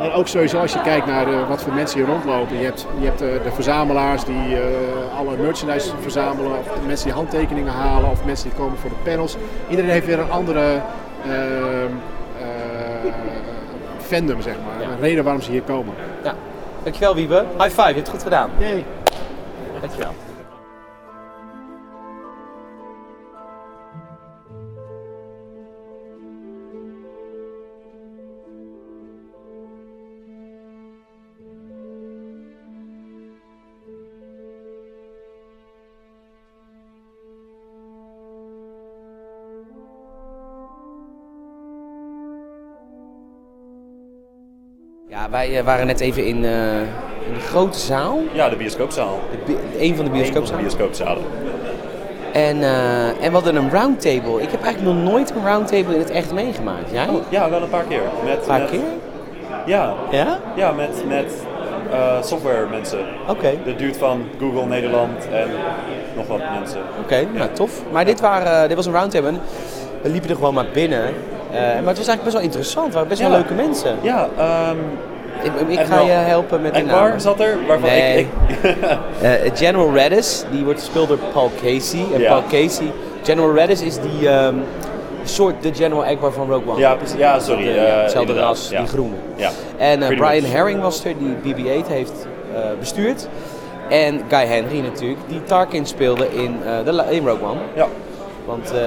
Speaker 9: En ook sowieso als je kijkt naar eh, wat voor mensen hier rondlopen. Je hebt, je hebt eh, de verzamelaars die eh, alle merchandise verzamelen, of de mensen die handtekeningen halen, of mensen die komen voor de panels. Iedereen heeft weer een andere ehm, eh, fandom, zeg maar. Een reden waarom ze hier komen.
Speaker 1: Ja. Nou, Dankjewel Wiebe. High five, je hebt het goed gedaan.
Speaker 9: Yay.
Speaker 1: Dankjewel. Ja, wij eh, waren net even in, eh, in de grote zaal.
Speaker 2: Ja, de bioscoopzaal.
Speaker 1: Eén van de bioscoopzalen. En, eh, en we hadden een roundtable. Ik heb eigenlijk nog nooit een roundtable in het echt meegemaakt. Jij?
Speaker 2: ja, wel een paar keer. Met,
Speaker 1: Een paar
Speaker 2: met-
Speaker 1: keer?
Speaker 2: Oh. Ja.
Speaker 1: Ja?
Speaker 2: Ja, met, met eh, software mensen.
Speaker 1: Oké.
Speaker 2: De dude van Google Nederland en nog wat mensen.
Speaker 1: eh, Oké, nou tof. Maar dit, waren, dit was een roundtable. en We liepen er gewoon maar binnen. Eh, maar het was eigenlijk best wel interessant. Het waren best
Speaker 2: Ja.
Speaker 1: wel leuke mensen.
Speaker 2: Ja, ehm,
Speaker 1: ik, ik ga
Speaker 2: Admiral-
Speaker 1: je helpen met de
Speaker 2: Akbar
Speaker 1: namen.
Speaker 2: zat er, waarvan ik-
Speaker 1: Nee.
Speaker 2: ik-
Speaker 1: Eh, General Redis, die wordt gespeeld door Paul Casey. En
Speaker 2: Ja.
Speaker 1: Paul Casey, General Redis is die ehm, soort de General Akbar van Rogue One.
Speaker 2: Ja, precies. Ja, sorry,
Speaker 1: Dat, eh,
Speaker 2: eh,
Speaker 1: hetzelfde
Speaker 2: inderdaad,
Speaker 1: ras,
Speaker 2: ja.
Speaker 1: die groene.
Speaker 2: Ja,
Speaker 1: En eh,
Speaker 2: pretty
Speaker 1: Brian
Speaker 2: much.
Speaker 1: Herring was er, die BB-8 heeft eh, bestuurd. En Guy Henry natuurlijk, die Tarkin speelde in, eh, de, la- in Rogue One.
Speaker 2: Ja.
Speaker 1: Want eh,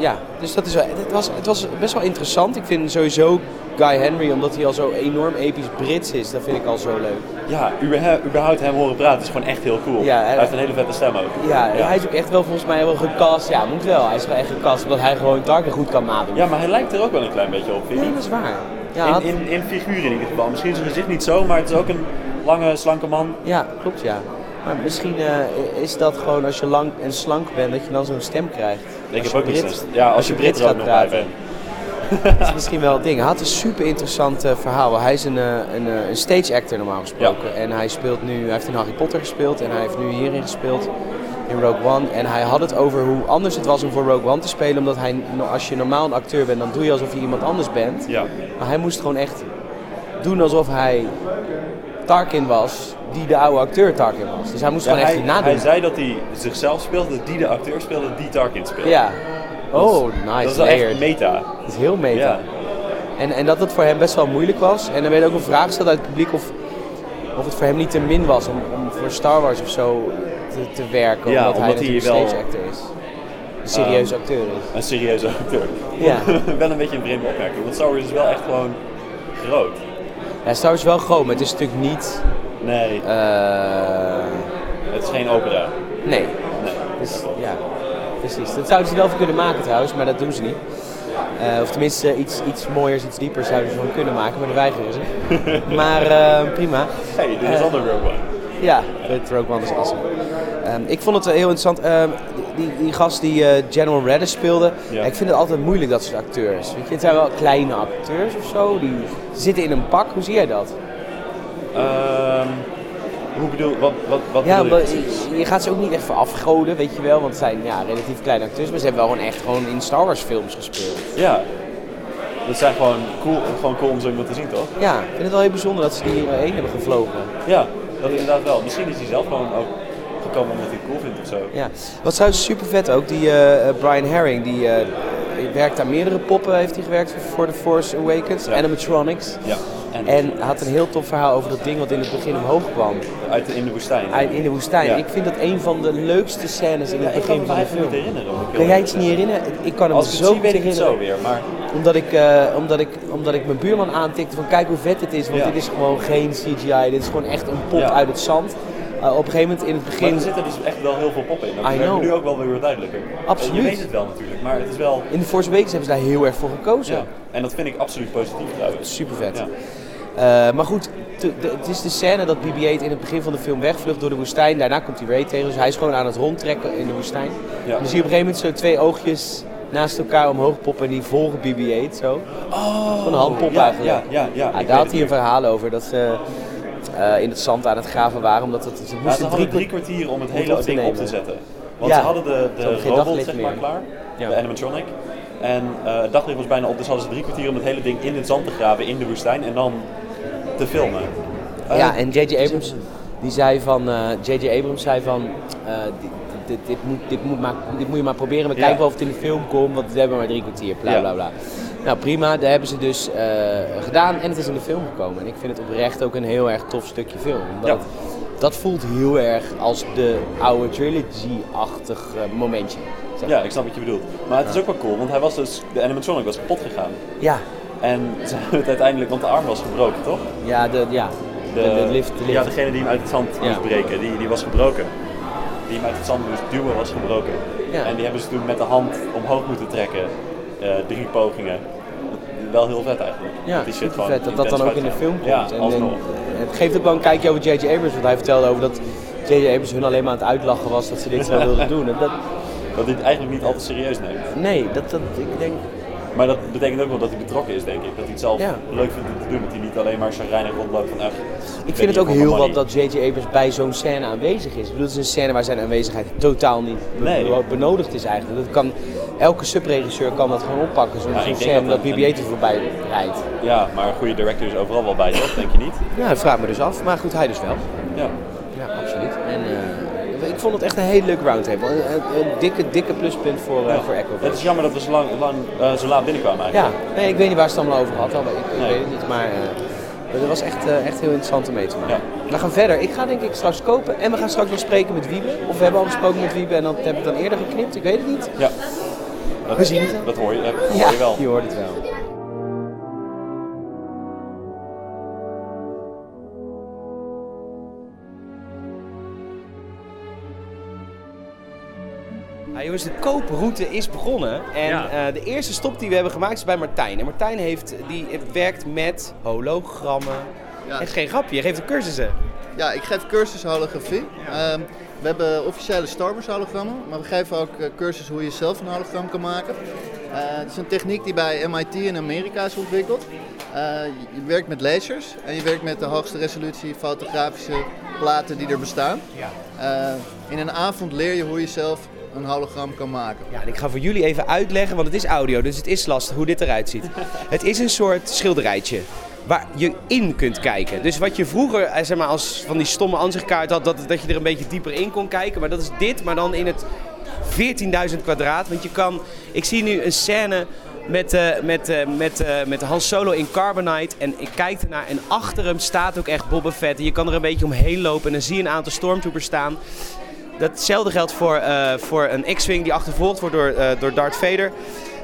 Speaker 1: ja, dus dat is wel, het, was, het was best wel interessant. Ik vind sowieso Guy Henry, omdat hij al zo enorm episch Brits is, dat vind ik al zo leuk.
Speaker 2: Ja, überhe- überhaupt hem horen praten is gewoon echt heel cool.
Speaker 1: Ja,
Speaker 2: hij
Speaker 1: en-
Speaker 2: heeft een hele vette stem ook.
Speaker 1: Ja, hij is ook echt wel volgens mij wel gecast. Ja, moet wel. Hij is wel echt gecast omdat hij gewoon Tarkin goed kan maken.
Speaker 2: Ja, maar hij lijkt er ook wel een klein beetje op.
Speaker 1: Ja, dat is waar. Ja,
Speaker 2: in,
Speaker 1: had-
Speaker 2: in, in figuur in ieder geval. Misschien zijn gezicht niet zo, maar het is ook een lange, slanke man.
Speaker 1: Ja, klopt ja. Maar misschien eh, is dat gewoon als je lang en slank bent, dat je dan zo'n stem krijgt.
Speaker 2: Ik
Speaker 1: Als
Speaker 2: heb
Speaker 1: je
Speaker 2: ook
Speaker 1: Brit-
Speaker 2: iets. Ja, als, je Brit
Speaker 1: Brits
Speaker 2: er ook nog bij bent.
Speaker 1: Dat is misschien wel het ding. Hij had een super interessant eh, verhaal. Hij is een, eh, een, eh, een stage actor normaal gesproken. En hij speelt nu, hij heeft in Harry Potter gespeeld en hij heeft nu hierin gespeeld in Rogue One. En hij had het over hoe anders het was om voor Rogue One te spelen. Omdat hij, nou, als je normaal een acteur bent, dan doe je alsof je iemand anders bent. Maar hij moest gewoon echt doen alsof hij Tarkin was, die de oude acteur Tarkin was. Dus hij moest
Speaker 2: Ja,
Speaker 1: gewoon echt
Speaker 2: hij,
Speaker 1: nadoen.
Speaker 2: hij zei dat hij zichzelf speelde, die de acteur speelde, die Tarkin speelde.
Speaker 1: Ja.
Speaker 2: Dat is-
Speaker 1: Oh, nice.
Speaker 2: Dat is wel echt
Speaker 1: layered.
Speaker 2: meta.
Speaker 1: Dat is heel meta.
Speaker 2: Ja.
Speaker 1: En, en dat het voor hem best wel moeilijk was. En er werd ook een vraag gesteld uit het publiek of, of het voor hem niet te min was om, om voor Star Wars of zo te, te werken.
Speaker 2: Ja,
Speaker 1: omdat, hij
Speaker 2: omdat hij
Speaker 1: natuurlijk
Speaker 2: wel-
Speaker 1: stage actor is. Een serieuze
Speaker 2: Ehm,
Speaker 1: acteur is.
Speaker 2: Een serieuze acteur.
Speaker 1: Ja.
Speaker 2: wel een beetje een vreemde opmerking, want Star Wars is wel echt gewoon groot.
Speaker 1: Ja, Star Wars is wel groot, maar het is natuurlijk niet...
Speaker 2: Nee.
Speaker 1: Eh.
Speaker 2: het is geen opera.
Speaker 1: Nee. Dus, ja, precies. Dat zouden ze wel voor kunnen maken trouwens, maar dat doen ze niet. Eh, of tenminste eh, iets, iets mooiers, iets diepers zouden ze van kunnen maken, maar dat weigeren ze. maar eh, prima.
Speaker 2: Hey, dit is
Speaker 1: Eh,
Speaker 2: ander Rogue One.
Speaker 1: Ja, dit Rogue One is awesome. Ehm, ik vond het wel heel interessant. Ehm, die, die gast die eh, General Reddish speelde,
Speaker 2: Ja.
Speaker 1: ik vind het altijd moeilijk dat soort acteurs. Weet je, het zijn wel kleine acteurs of zo, die zitten in een pak. Hoe zie jij dat?
Speaker 2: Ehm, hoe bedoel, wat, wat, wat
Speaker 1: ja,
Speaker 2: bedoel je
Speaker 1: maar
Speaker 2: precies?
Speaker 1: je- je gaat ze ook niet echt voor afgoden, weet je wel, want het zijn ja, relatief kleine acteurs, maar ze hebben wel gewoon echt gewoon in Star Wars films gespeeld.
Speaker 2: Ja. Dat zijn gewoon cool, gewoon cool om zo iemand te zien, toch?
Speaker 1: Ja, ik vind het wel heel bijzonder dat ze die hier heen hebben gevlogen.
Speaker 2: Ja, dat inderdaad wel. Misschien is hij zelf gewoon ook gekomen omdat hij het cool vindt of zo.
Speaker 1: Ja. Wat trouwens super vet ook, die eh, eh, Brian Herring, die eh, werkt aan meerdere poppen, heeft hij gewerkt voor- voor The Force Awakens, animatronics.
Speaker 2: Ja.
Speaker 1: En, had een heel tof verhaal over dat ding wat in het begin omhoog kwam.
Speaker 2: Uit de, in de woestijn.
Speaker 1: Uit, in de woestijn.
Speaker 2: Ja.
Speaker 1: Ik vind dat een van de leukste scènes in
Speaker 2: Ja,
Speaker 1: het
Speaker 2: ik kan me
Speaker 1: begin van de
Speaker 2: eigenlijk
Speaker 1: film.
Speaker 2: niet herinneren, moet ik
Speaker 1: Kan
Speaker 2: heel
Speaker 1: jij
Speaker 2: eerlijk
Speaker 1: iets niet herinneren? Ik kan hem
Speaker 2: Als ik het
Speaker 1: zo
Speaker 2: zie, weet
Speaker 1: goed
Speaker 2: ik het zo
Speaker 1: herinneren.
Speaker 2: weer, maar-
Speaker 1: Omdat ik, eh, omdat, ik, omdat ik mijn buurman aantikte van kijk hoe vet dit is. Want
Speaker 2: Ja.
Speaker 1: dit is gewoon geen CGI. Dit is gewoon echt een pop
Speaker 2: Ja.
Speaker 1: uit het zand. Eh, op een gegeven moment in het
Speaker 2: Maar
Speaker 1: begin...
Speaker 2: er zitten dus echt wel heel veel poppen in. Dat
Speaker 1: I
Speaker 2: werd
Speaker 1: know.
Speaker 2: nu ook wel weer duidelijker.
Speaker 1: Absoluut.
Speaker 2: Je weet het wel natuurlijk, maar het is wel...
Speaker 1: In de Force Awakens hebben ze daar heel erg voor gekozen.
Speaker 2: Ja. En dat vind ik absoluut positief trouwens.
Speaker 1: Super vet.
Speaker 2: Ja.
Speaker 1: Eh, maar goed, te- de- het is de scène dat BB-8 in het begin van de film wegvlucht door de woestijn. Daarna komt hij Ray tegen, dus hij is gewoon aan het rondtrekken in de woestijn.
Speaker 2: Ja.
Speaker 1: Dan zie je op een gegeven moment zo twee oogjes naast elkaar omhoog poppen en die volgen BB-8 zo.
Speaker 2: Oh,
Speaker 1: Gewoon een handpop
Speaker 2: ja,
Speaker 1: eigenlijk.
Speaker 2: ja, ja, ja. Ik
Speaker 1: Ah,
Speaker 2: weet
Speaker 1: daar
Speaker 2: het
Speaker 1: had hij een verhaal over dat ze eh, in het zand aan het graven waren, omdat het, ze
Speaker 2: Ja, ze
Speaker 1: moesten
Speaker 2: hadden
Speaker 1: drie
Speaker 2: drie kwartier om het
Speaker 1: om
Speaker 2: hele
Speaker 1: op te
Speaker 2: ding op te
Speaker 1: nemen.
Speaker 2: zetten. Want
Speaker 1: Ja.
Speaker 2: ze hadden de,
Speaker 1: Ze hadden
Speaker 2: de
Speaker 1: geen
Speaker 2: robot
Speaker 1: daglicht
Speaker 2: zeg maar
Speaker 1: meer.
Speaker 2: klaar,
Speaker 1: Ja.
Speaker 2: de animatronic. En eh, het daglicht was bijna op, dus hadden ze drie kwartier om het hele ding in het zand te graven in de woestijn en dan te filmen. Eh,
Speaker 1: ja, en J.J. Abrams die zei van, eh, J.J. Abrams zei van, eh, dit, dit, dit, moet, dit, moet maar, dit moet je maar proberen, we
Speaker 2: Ja.
Speaker 1: kijken wel of het in de film komt, want we hebben maar drie kwartier, bla
Speaker 2: Ja.
Speaker 1: bla bla. Nou prima, daar hebben ze dus eh, gedaan en het is in de film gekomen. En ik vind het oprecht ook een heel erg tof stukje film. Omdat
Speaker 2: Ja.
Speaker 1: het- dat voelt heel erg als de oude trilogy-achtig eh, momentje. zeg
Speaker 2: Ja,
Speaker 1: maar.
Speaker 2: ik snap wat je bedoelt. Maar het is ook wel cool, want hij was dus, de animatronic was kapot gegaan.
Speaker 1: Ja,
Speaker 2: En ze hebben het uiteindelijk, want de arm was gebroken, toch?
Speaker 1: ja, de, ja. De, de lift, de lift.
Speaker 2: Ja, degene die hem uit het zand
Speaker 1: Ja.
Speaker 2: moest breken, die, die was gebroken. Die hem uit het zand moest duwen, was gebroken.
Speaker 1: Ja.
Speaker 2: En die hebben ze toen met de hand omhoog moeten trekken. Eh, drie pogingen. Wel heel vet eigenlijk.
Speaker 1: Ja,
Speaker 2: Die shit
Speaker 1: super
Speaker 2: gewoon
Speaker 1: vet dat dat dan
Speaker 2: intens
Speaker 1: ook in de
Speaker 2: vet.
Speaker 1: film komt.
Speaker 2: Ja,
Speaker 1: en,
Speaker 2: alsnog.
Speaker 1: en het geeft ook wel een kijkje over J.J. Abrams, want hij vertelde over dat J.J. Abrams hun alleen maar aan het uitlachen was dat ze dit zo wilden doen. En dat,
Speaker 2: Dat hij het eigenlijk niet altijd serieus neemt.
Speaker 1: nee, dat, dat, ik denk,
Speaker 2: Maar dat betekent ook wel dat hij betrokken is, denk ik. Dat hij het zelf
Speaker 1: Ja.
Speaker 2: leuk vindt om te doen. Dat hij niet alleen maar zijn reinig rondloopt van echt.
Speaker 1: Ik vind het ook heel wat dat J.J. Abrams bij zo'n scène aanwezig is. Ik bedoel, het is een scène waar zijn aanwezigheid totaal niet be-
Speaker 2: Nee.
Speaker 1: be- benodigd is eigenlijk. Dat kan, elke subregisseur kan dat gewoon oppakken, zo'n
Speaker 2: Ja, ik
Speaker 1: zo'n
Speaker 2: denk
Speaker 1: scène
Speaker 2: dat
Speaker 1: dat,
Speaker 2: dat-
Speaker 1: BB-8 er voorbij rijdt.
Speaker 2: Ja, maar een goede director is overal wel bij, toch? Denk je niet?
Speaker 1: Ja, dat vraagt me dus af. Maar goed, hij dus wel.
Speaker 2: Ja.
Speaker 1: Ja, absoluut. En eh, ik vond het echt een hele leuke roundtable. Een, een- een dikke, dikke pluspunt voor, eh,
Speaker 2: Ja.
Speaker 1: voor Echo.
Speaker 2: Nou, Het is jammer dat we zo, lang, lang, eh, zo laat binnenkwamen
Speaker 1: Ja,
Speaker 2: eigenlijk.
Speaker 1: nee, ik weet niet waar ze het allemaal over gehad hadden. Ik, ik
Speaker 2: Nee.
Speaker 1: weet het niet, maar eh dat was echt, eh, echt heel interessant om mee te maken.
Speaker 2: Ja.
Speaker 1: We gaan verder. Ik ga denk ik straks kopen en we gaan straks nog spreken met Wiebe. Of we hebben al gesproken met Wiebe en dan hebben we het dan eerder geknipt. Ik weet het niet.
Speaker 2: Ja. Dat,
Speaker 1: We zien het.
Speaker 2: Dat hoor je, dat hoor
Speaker 1: Ja,
Speaker 2: je wel.
Speaker 1: je hoort het wel. Ja, jongens, de kooproute is begonnen. En eh, de eerste stop die we hebben gemaakt is bij Martijn. En Martijn heeft, die werkt met hologrammen.
Speaker 10: Ja.
Speaker 1: Echt geen grapje, je geeft cursussen.
Speaker 10: Ja, ik geef cursussen holografie. Ehm, we hebben officiële Star Wars hologrammen, maar we geven ook eh, cursus hoe je zelf een hologram kan maken. Eh, het is een techniek die bij MIT in Amerika is ontwikkeld. Eh, je- je werkt met lasers en je werkt met de hoogste resolutie fotografische platen die er bestaan. Eh, in een avond leer je hoe je zelf een hologram kan maken.
Speaker 1: Ja, en ik ga voor jullie even uitleggen, want het is audio, dus het is lastig hoe dit eruit ziet. Het is een soort schilderijtje waar je in kunt kijken. Dus wat je vroeger eh, zeg maar, als van die stomme aanzichtkaart had, dat, dat je er een beetje dieper in kon kijken. Maar dat is dit, maar dan in het 14.000 kwadraat. Want je kan, ik zie nu een scène met, eh, met, eh, met, eh, met Han Solo in Carbonite. En ik kijk ernaar en achter hem staat ook echt Boba Fett. En je kan er een beetje omheen lopen en dan zie je een aantal stormtroopers staan. Datzelfde geldt voor, eh, voor een X-Wing die achtervolgd wordt door, eh, door Darth Vader.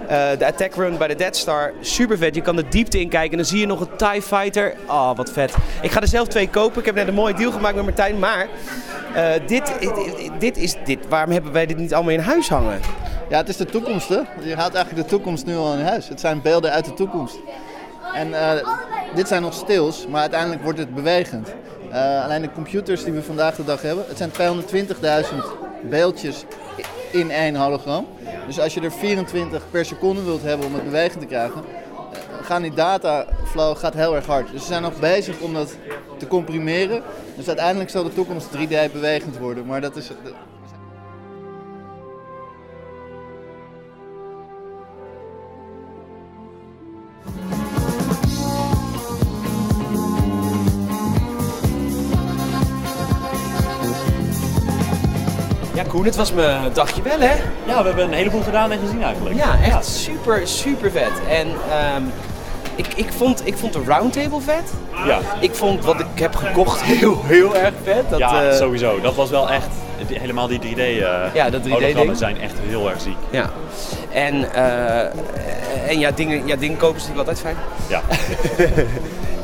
Speaker 1: Eh, de attack run bij de Death Star, super vet. Je kan de diepte in kijken en dan zie je nog een TIE Fighter. Oh, wat vet. Ik ga er zelf twee kopen. Ik heb net een mooie deal gemaakt met Martijn. Maar eh, dit, dit, dit is dit. Waarom hebben wij dit niet allemaal in huis hangen?
Speaker 10: Ja, het is de toekomst, hè? Je haalt eigenlijk de toekomst nu al in huis. Het zijn beelden uit de toekomst. En eh, dit zijn nog stils, maar uiteindelijk wordt het bewegend. Eh, alleen de computers die we vandaag de dag hebben, het zijn 220.000 beeldjes i- in één hologram. Dus als je er 24 per seconde wilt hebben om het bewegend te krijgen, eh, gaan die dataflow gaat heel erg hard. Dus ze zijn nog bezig om dat te comprimeren. Dus uiteindelijk zal de toekomst 3D bewegend worden, maar dat is...
Speaker 1: Ja, Koen, het was mijn dagje wel, hè?
Speaker 2: Ja, we hebben een heleboel gedaan en gezien eigenlijk.
Speaker 1: Ja, echt super, super vet. En ehm, ik, ik, vond, ik vond de roundtable vet.
Speaker 2: Ja.
Speaker 1: Ik vond wat ik heb gekocht heel, heel erg vet. Dat,
Speaker 2: ja,
Speaker 1: eh,
Speaker 2: sowieso. Dat was wel echt. die- helemaal die 3D. eh
Speaker 1: Ja, dat 3D
Speaker 2: hologrammen
Speaker 1: ding.
Speaker 2: zijn echt heel erg ziek.
Speaker 1: Ja. En, eh, en ja, dingen, ja, dingen kopen is natuurlijk altijd fijn.
Speaker 2: Ja.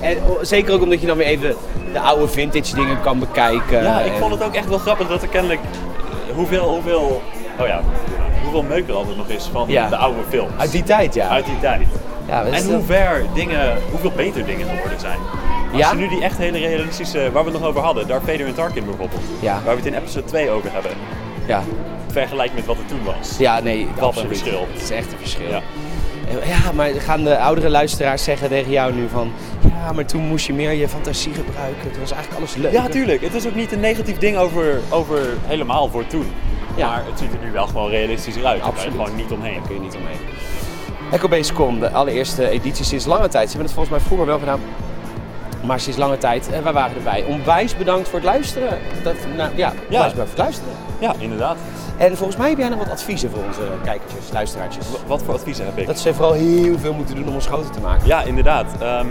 Speaker 1: en o- zeker ook omdat je dan weer even de oude vintage dingen kan bekijken.
Speaker 2: ja, ik
Speaker 1: En-
Speaker 2: vond het ook echt wel grappig dat er kennelijk eh, hoeveel, hoeveel, oh ja, hoeveel meuk er altijd nog is van
Speaker 1: Ja.
Speaker 2: de oude films.
Speaker 1: Uit die tijd, ja.
Speaker 2: Uit die dus tijd.
Speaker 1: Ja, dat is
Speaker 2: en
Speaker 1: wel-
Speaker 2: hoe ver dingen, hoeveel beter dingen geworden zijn. Als
Speaker 1: Ja?
Speaker 2: je nu die echt hele realistische, waar we het nog over hadden, Darth Vader en Tarkin bijvoorbeeld.
Speaker 1: Ja.
Speaker 2: Waar we het in episode 2 over hebben.
Speaker 1: Ja.
Speaker 2: Vergelijk met wat het toen was.
Speaker 1: Ja, nee,
Speaker 2: Wat
Speaker 1: absoluut.
Speaker 2: een verschil.
Speaker 1: Het is echt een verschil.
Speaker 2: Ja.
Speaker 1: Ja, maar gaan de oudere luisteraars zeggen tegen jou nu van... Ja, maar toen moest je meer je fantasie gebruiken. Het was eigenlijk alles leuk.
Speaker 2: Ja, tuurlijk. Het is ook niet een negatief ding over, over helemaal voor toen. Maar het ziet er nu wel gewoon realistischer uit. Daar kan je
Speaker 1: Absoluut.
Speaker 2: gewoon niet omheen. Daar
Speaker 1: kun je niet omheen. EcoBasecon, de allereerste editie sinds lange tijd. Ze hebben het volgens mij vroeger wel gedaan. Maar sinds lange tijd, eh, wij waren erbij. Onwijs bedankt voor het luisteren. Dat, nou, ja, onwijs bedankt voor het luisteren.
Speaker 2: Ja, inderdaad.
Speaker 1: En volgens mij heb jij nog wat adviezen voor onze kijkertjes, luisteraartjes.
Speaker 2: Wat voor adviezen heb ik?
Speaker 1: Dat ze vooral heel veel moeten doen om ons groter te maken.
Speaker 2: Ja, inderdaad. Ehm,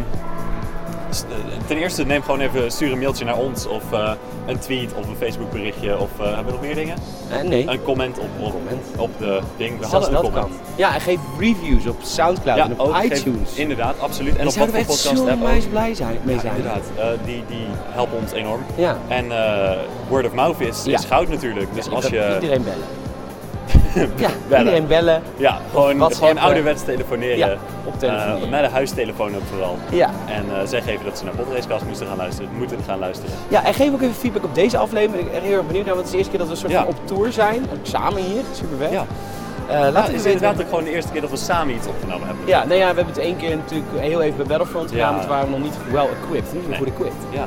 Speaker 2: s- eh, ten eerste neem gewoon even, stuur een mailtje naar ons of eh, een tweet of een Facebook berichtje of eh, hebben we nog meer dingen?
Speaker 1: Eh, nee.
Speaker 2: Een comment op, op, op de ding. We
Speaker 1: Zelfs
Speaker 2: hadden een
Speaker 1: dat
Speaker 2: comment.
Speaker 1: kan. Ja, en geef reviews op Soundcloud
Speaker 2: Ja,
Speaker 1: en op
Speaker 2: ook geef-
Speaker 1: iTunes.
Speaker 2: inderdaad, absoluut. En
Speaker 1: Daar
Speaker 2: op wat
Speaker 1: zouden
Speaker 2: voor
Speaker 1: we echt
Speaker 2: podcast
Speaker 1: zo
Speaker 2: app ook.
Speaker 1: onwijs blij zijn, mee
Speaker 2: Ja,
Speaker 1: zijn.
Speaker 2: inderdaad. Eh, die, die helpen ons enorm.
Speaker 1: Ja.
Speaker 2: En eh, word of mouth is,
Speaker 1: Ja.
Speaker 2: is goud natuurlijk. Dus
Speaker 1: Ja,
Speaker 2: als
Speaker 1: ik wil
Speaker 2: je...
Speaker 1: iedereen bellen. ja, iedereen bellen.
Speaker 2: Ja, gewoon,
Speaker 1: WhatsAppen.
Speaker 2: gewoon ouderwets telefoneren.
Speaker 1: Ja, op telefoon.
Speaker 2: Eh, met een huistelefoon ook vooral.
Speaker 1: Ja.
Speaker 2: En eh, zeg even dat ze naar Podracecast moesten gaan luisteren. Moeten gaan luisteren.
Speaker 1: Ja, en geef ook even feedback op deze aflevering. Ik ben echt heel erg benieuwd naar, want het is de eerste keer dat we een soort
Speaker 2: Ja.
Speaker 1: van op tour zijn. Ook samen hier, super vet.
Speaker 2: Ja.
Speaker 1: Eh,
Speaker 2: nou,
Speaker 1: laten we
Speaker 2: het is
Speaker 1: weten.
Speaker 2: inderdaad ook gewoon de eerste keer dat we samen iets opgenomen hebben.
Speaker 1: Ja, nou ja, we hebben het één keer natuurlijk heel even bij Battlefront gedaan,
Speaker 2: Ja.
Speaker 1: want toen waren we nog niet well equipped, niet
Speaker 2: Nee.
Speaker 1: goed equipped.
Speaker 2: Ja,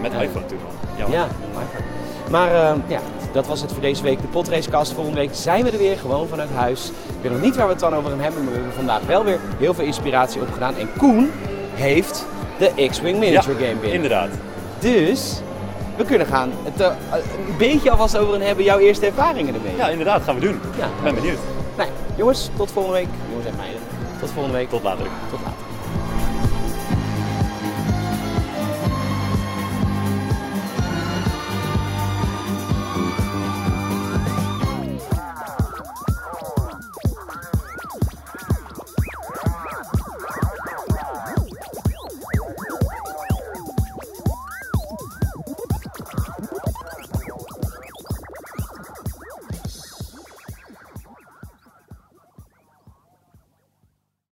Speaker 2: met
Speaker 1: Ja.
Speaker 2: iPhone toen al.
Speaker 1: Ja,
Speaker 2: Jammer.
Speaker 1: iPhone. Maar eh, ja, dat was het voor deze week, de Potracecast. Volgende week zijn we er weer, gewoon vanuit huis. Ik weet nog niet waar we het dan over gaan hebben, maar we hebben vandaag wel weer heel veel inspiratie opgedaan. En Koen heeft de X-Wing Miniature
Speaker 2: Ja,
Speaker 1: Game binnen.
Speaker 2: inderdaad.
Speaker 1: Dus we kunnen gaan het eh, een beetje alvast over een hebben, jouw eerste ervaringen ermee.
Speaker 2: Ja, inderdaad, gaan we doen.
Speaker 1: Ja.
Speaker 2: Ik ben benieuwd.
Speaker 1: Nou, jongens, tot volgende week. Jongens en meiden, tot volgende week.
Speaker 2: Tot later.
Speaker 1: Tot later.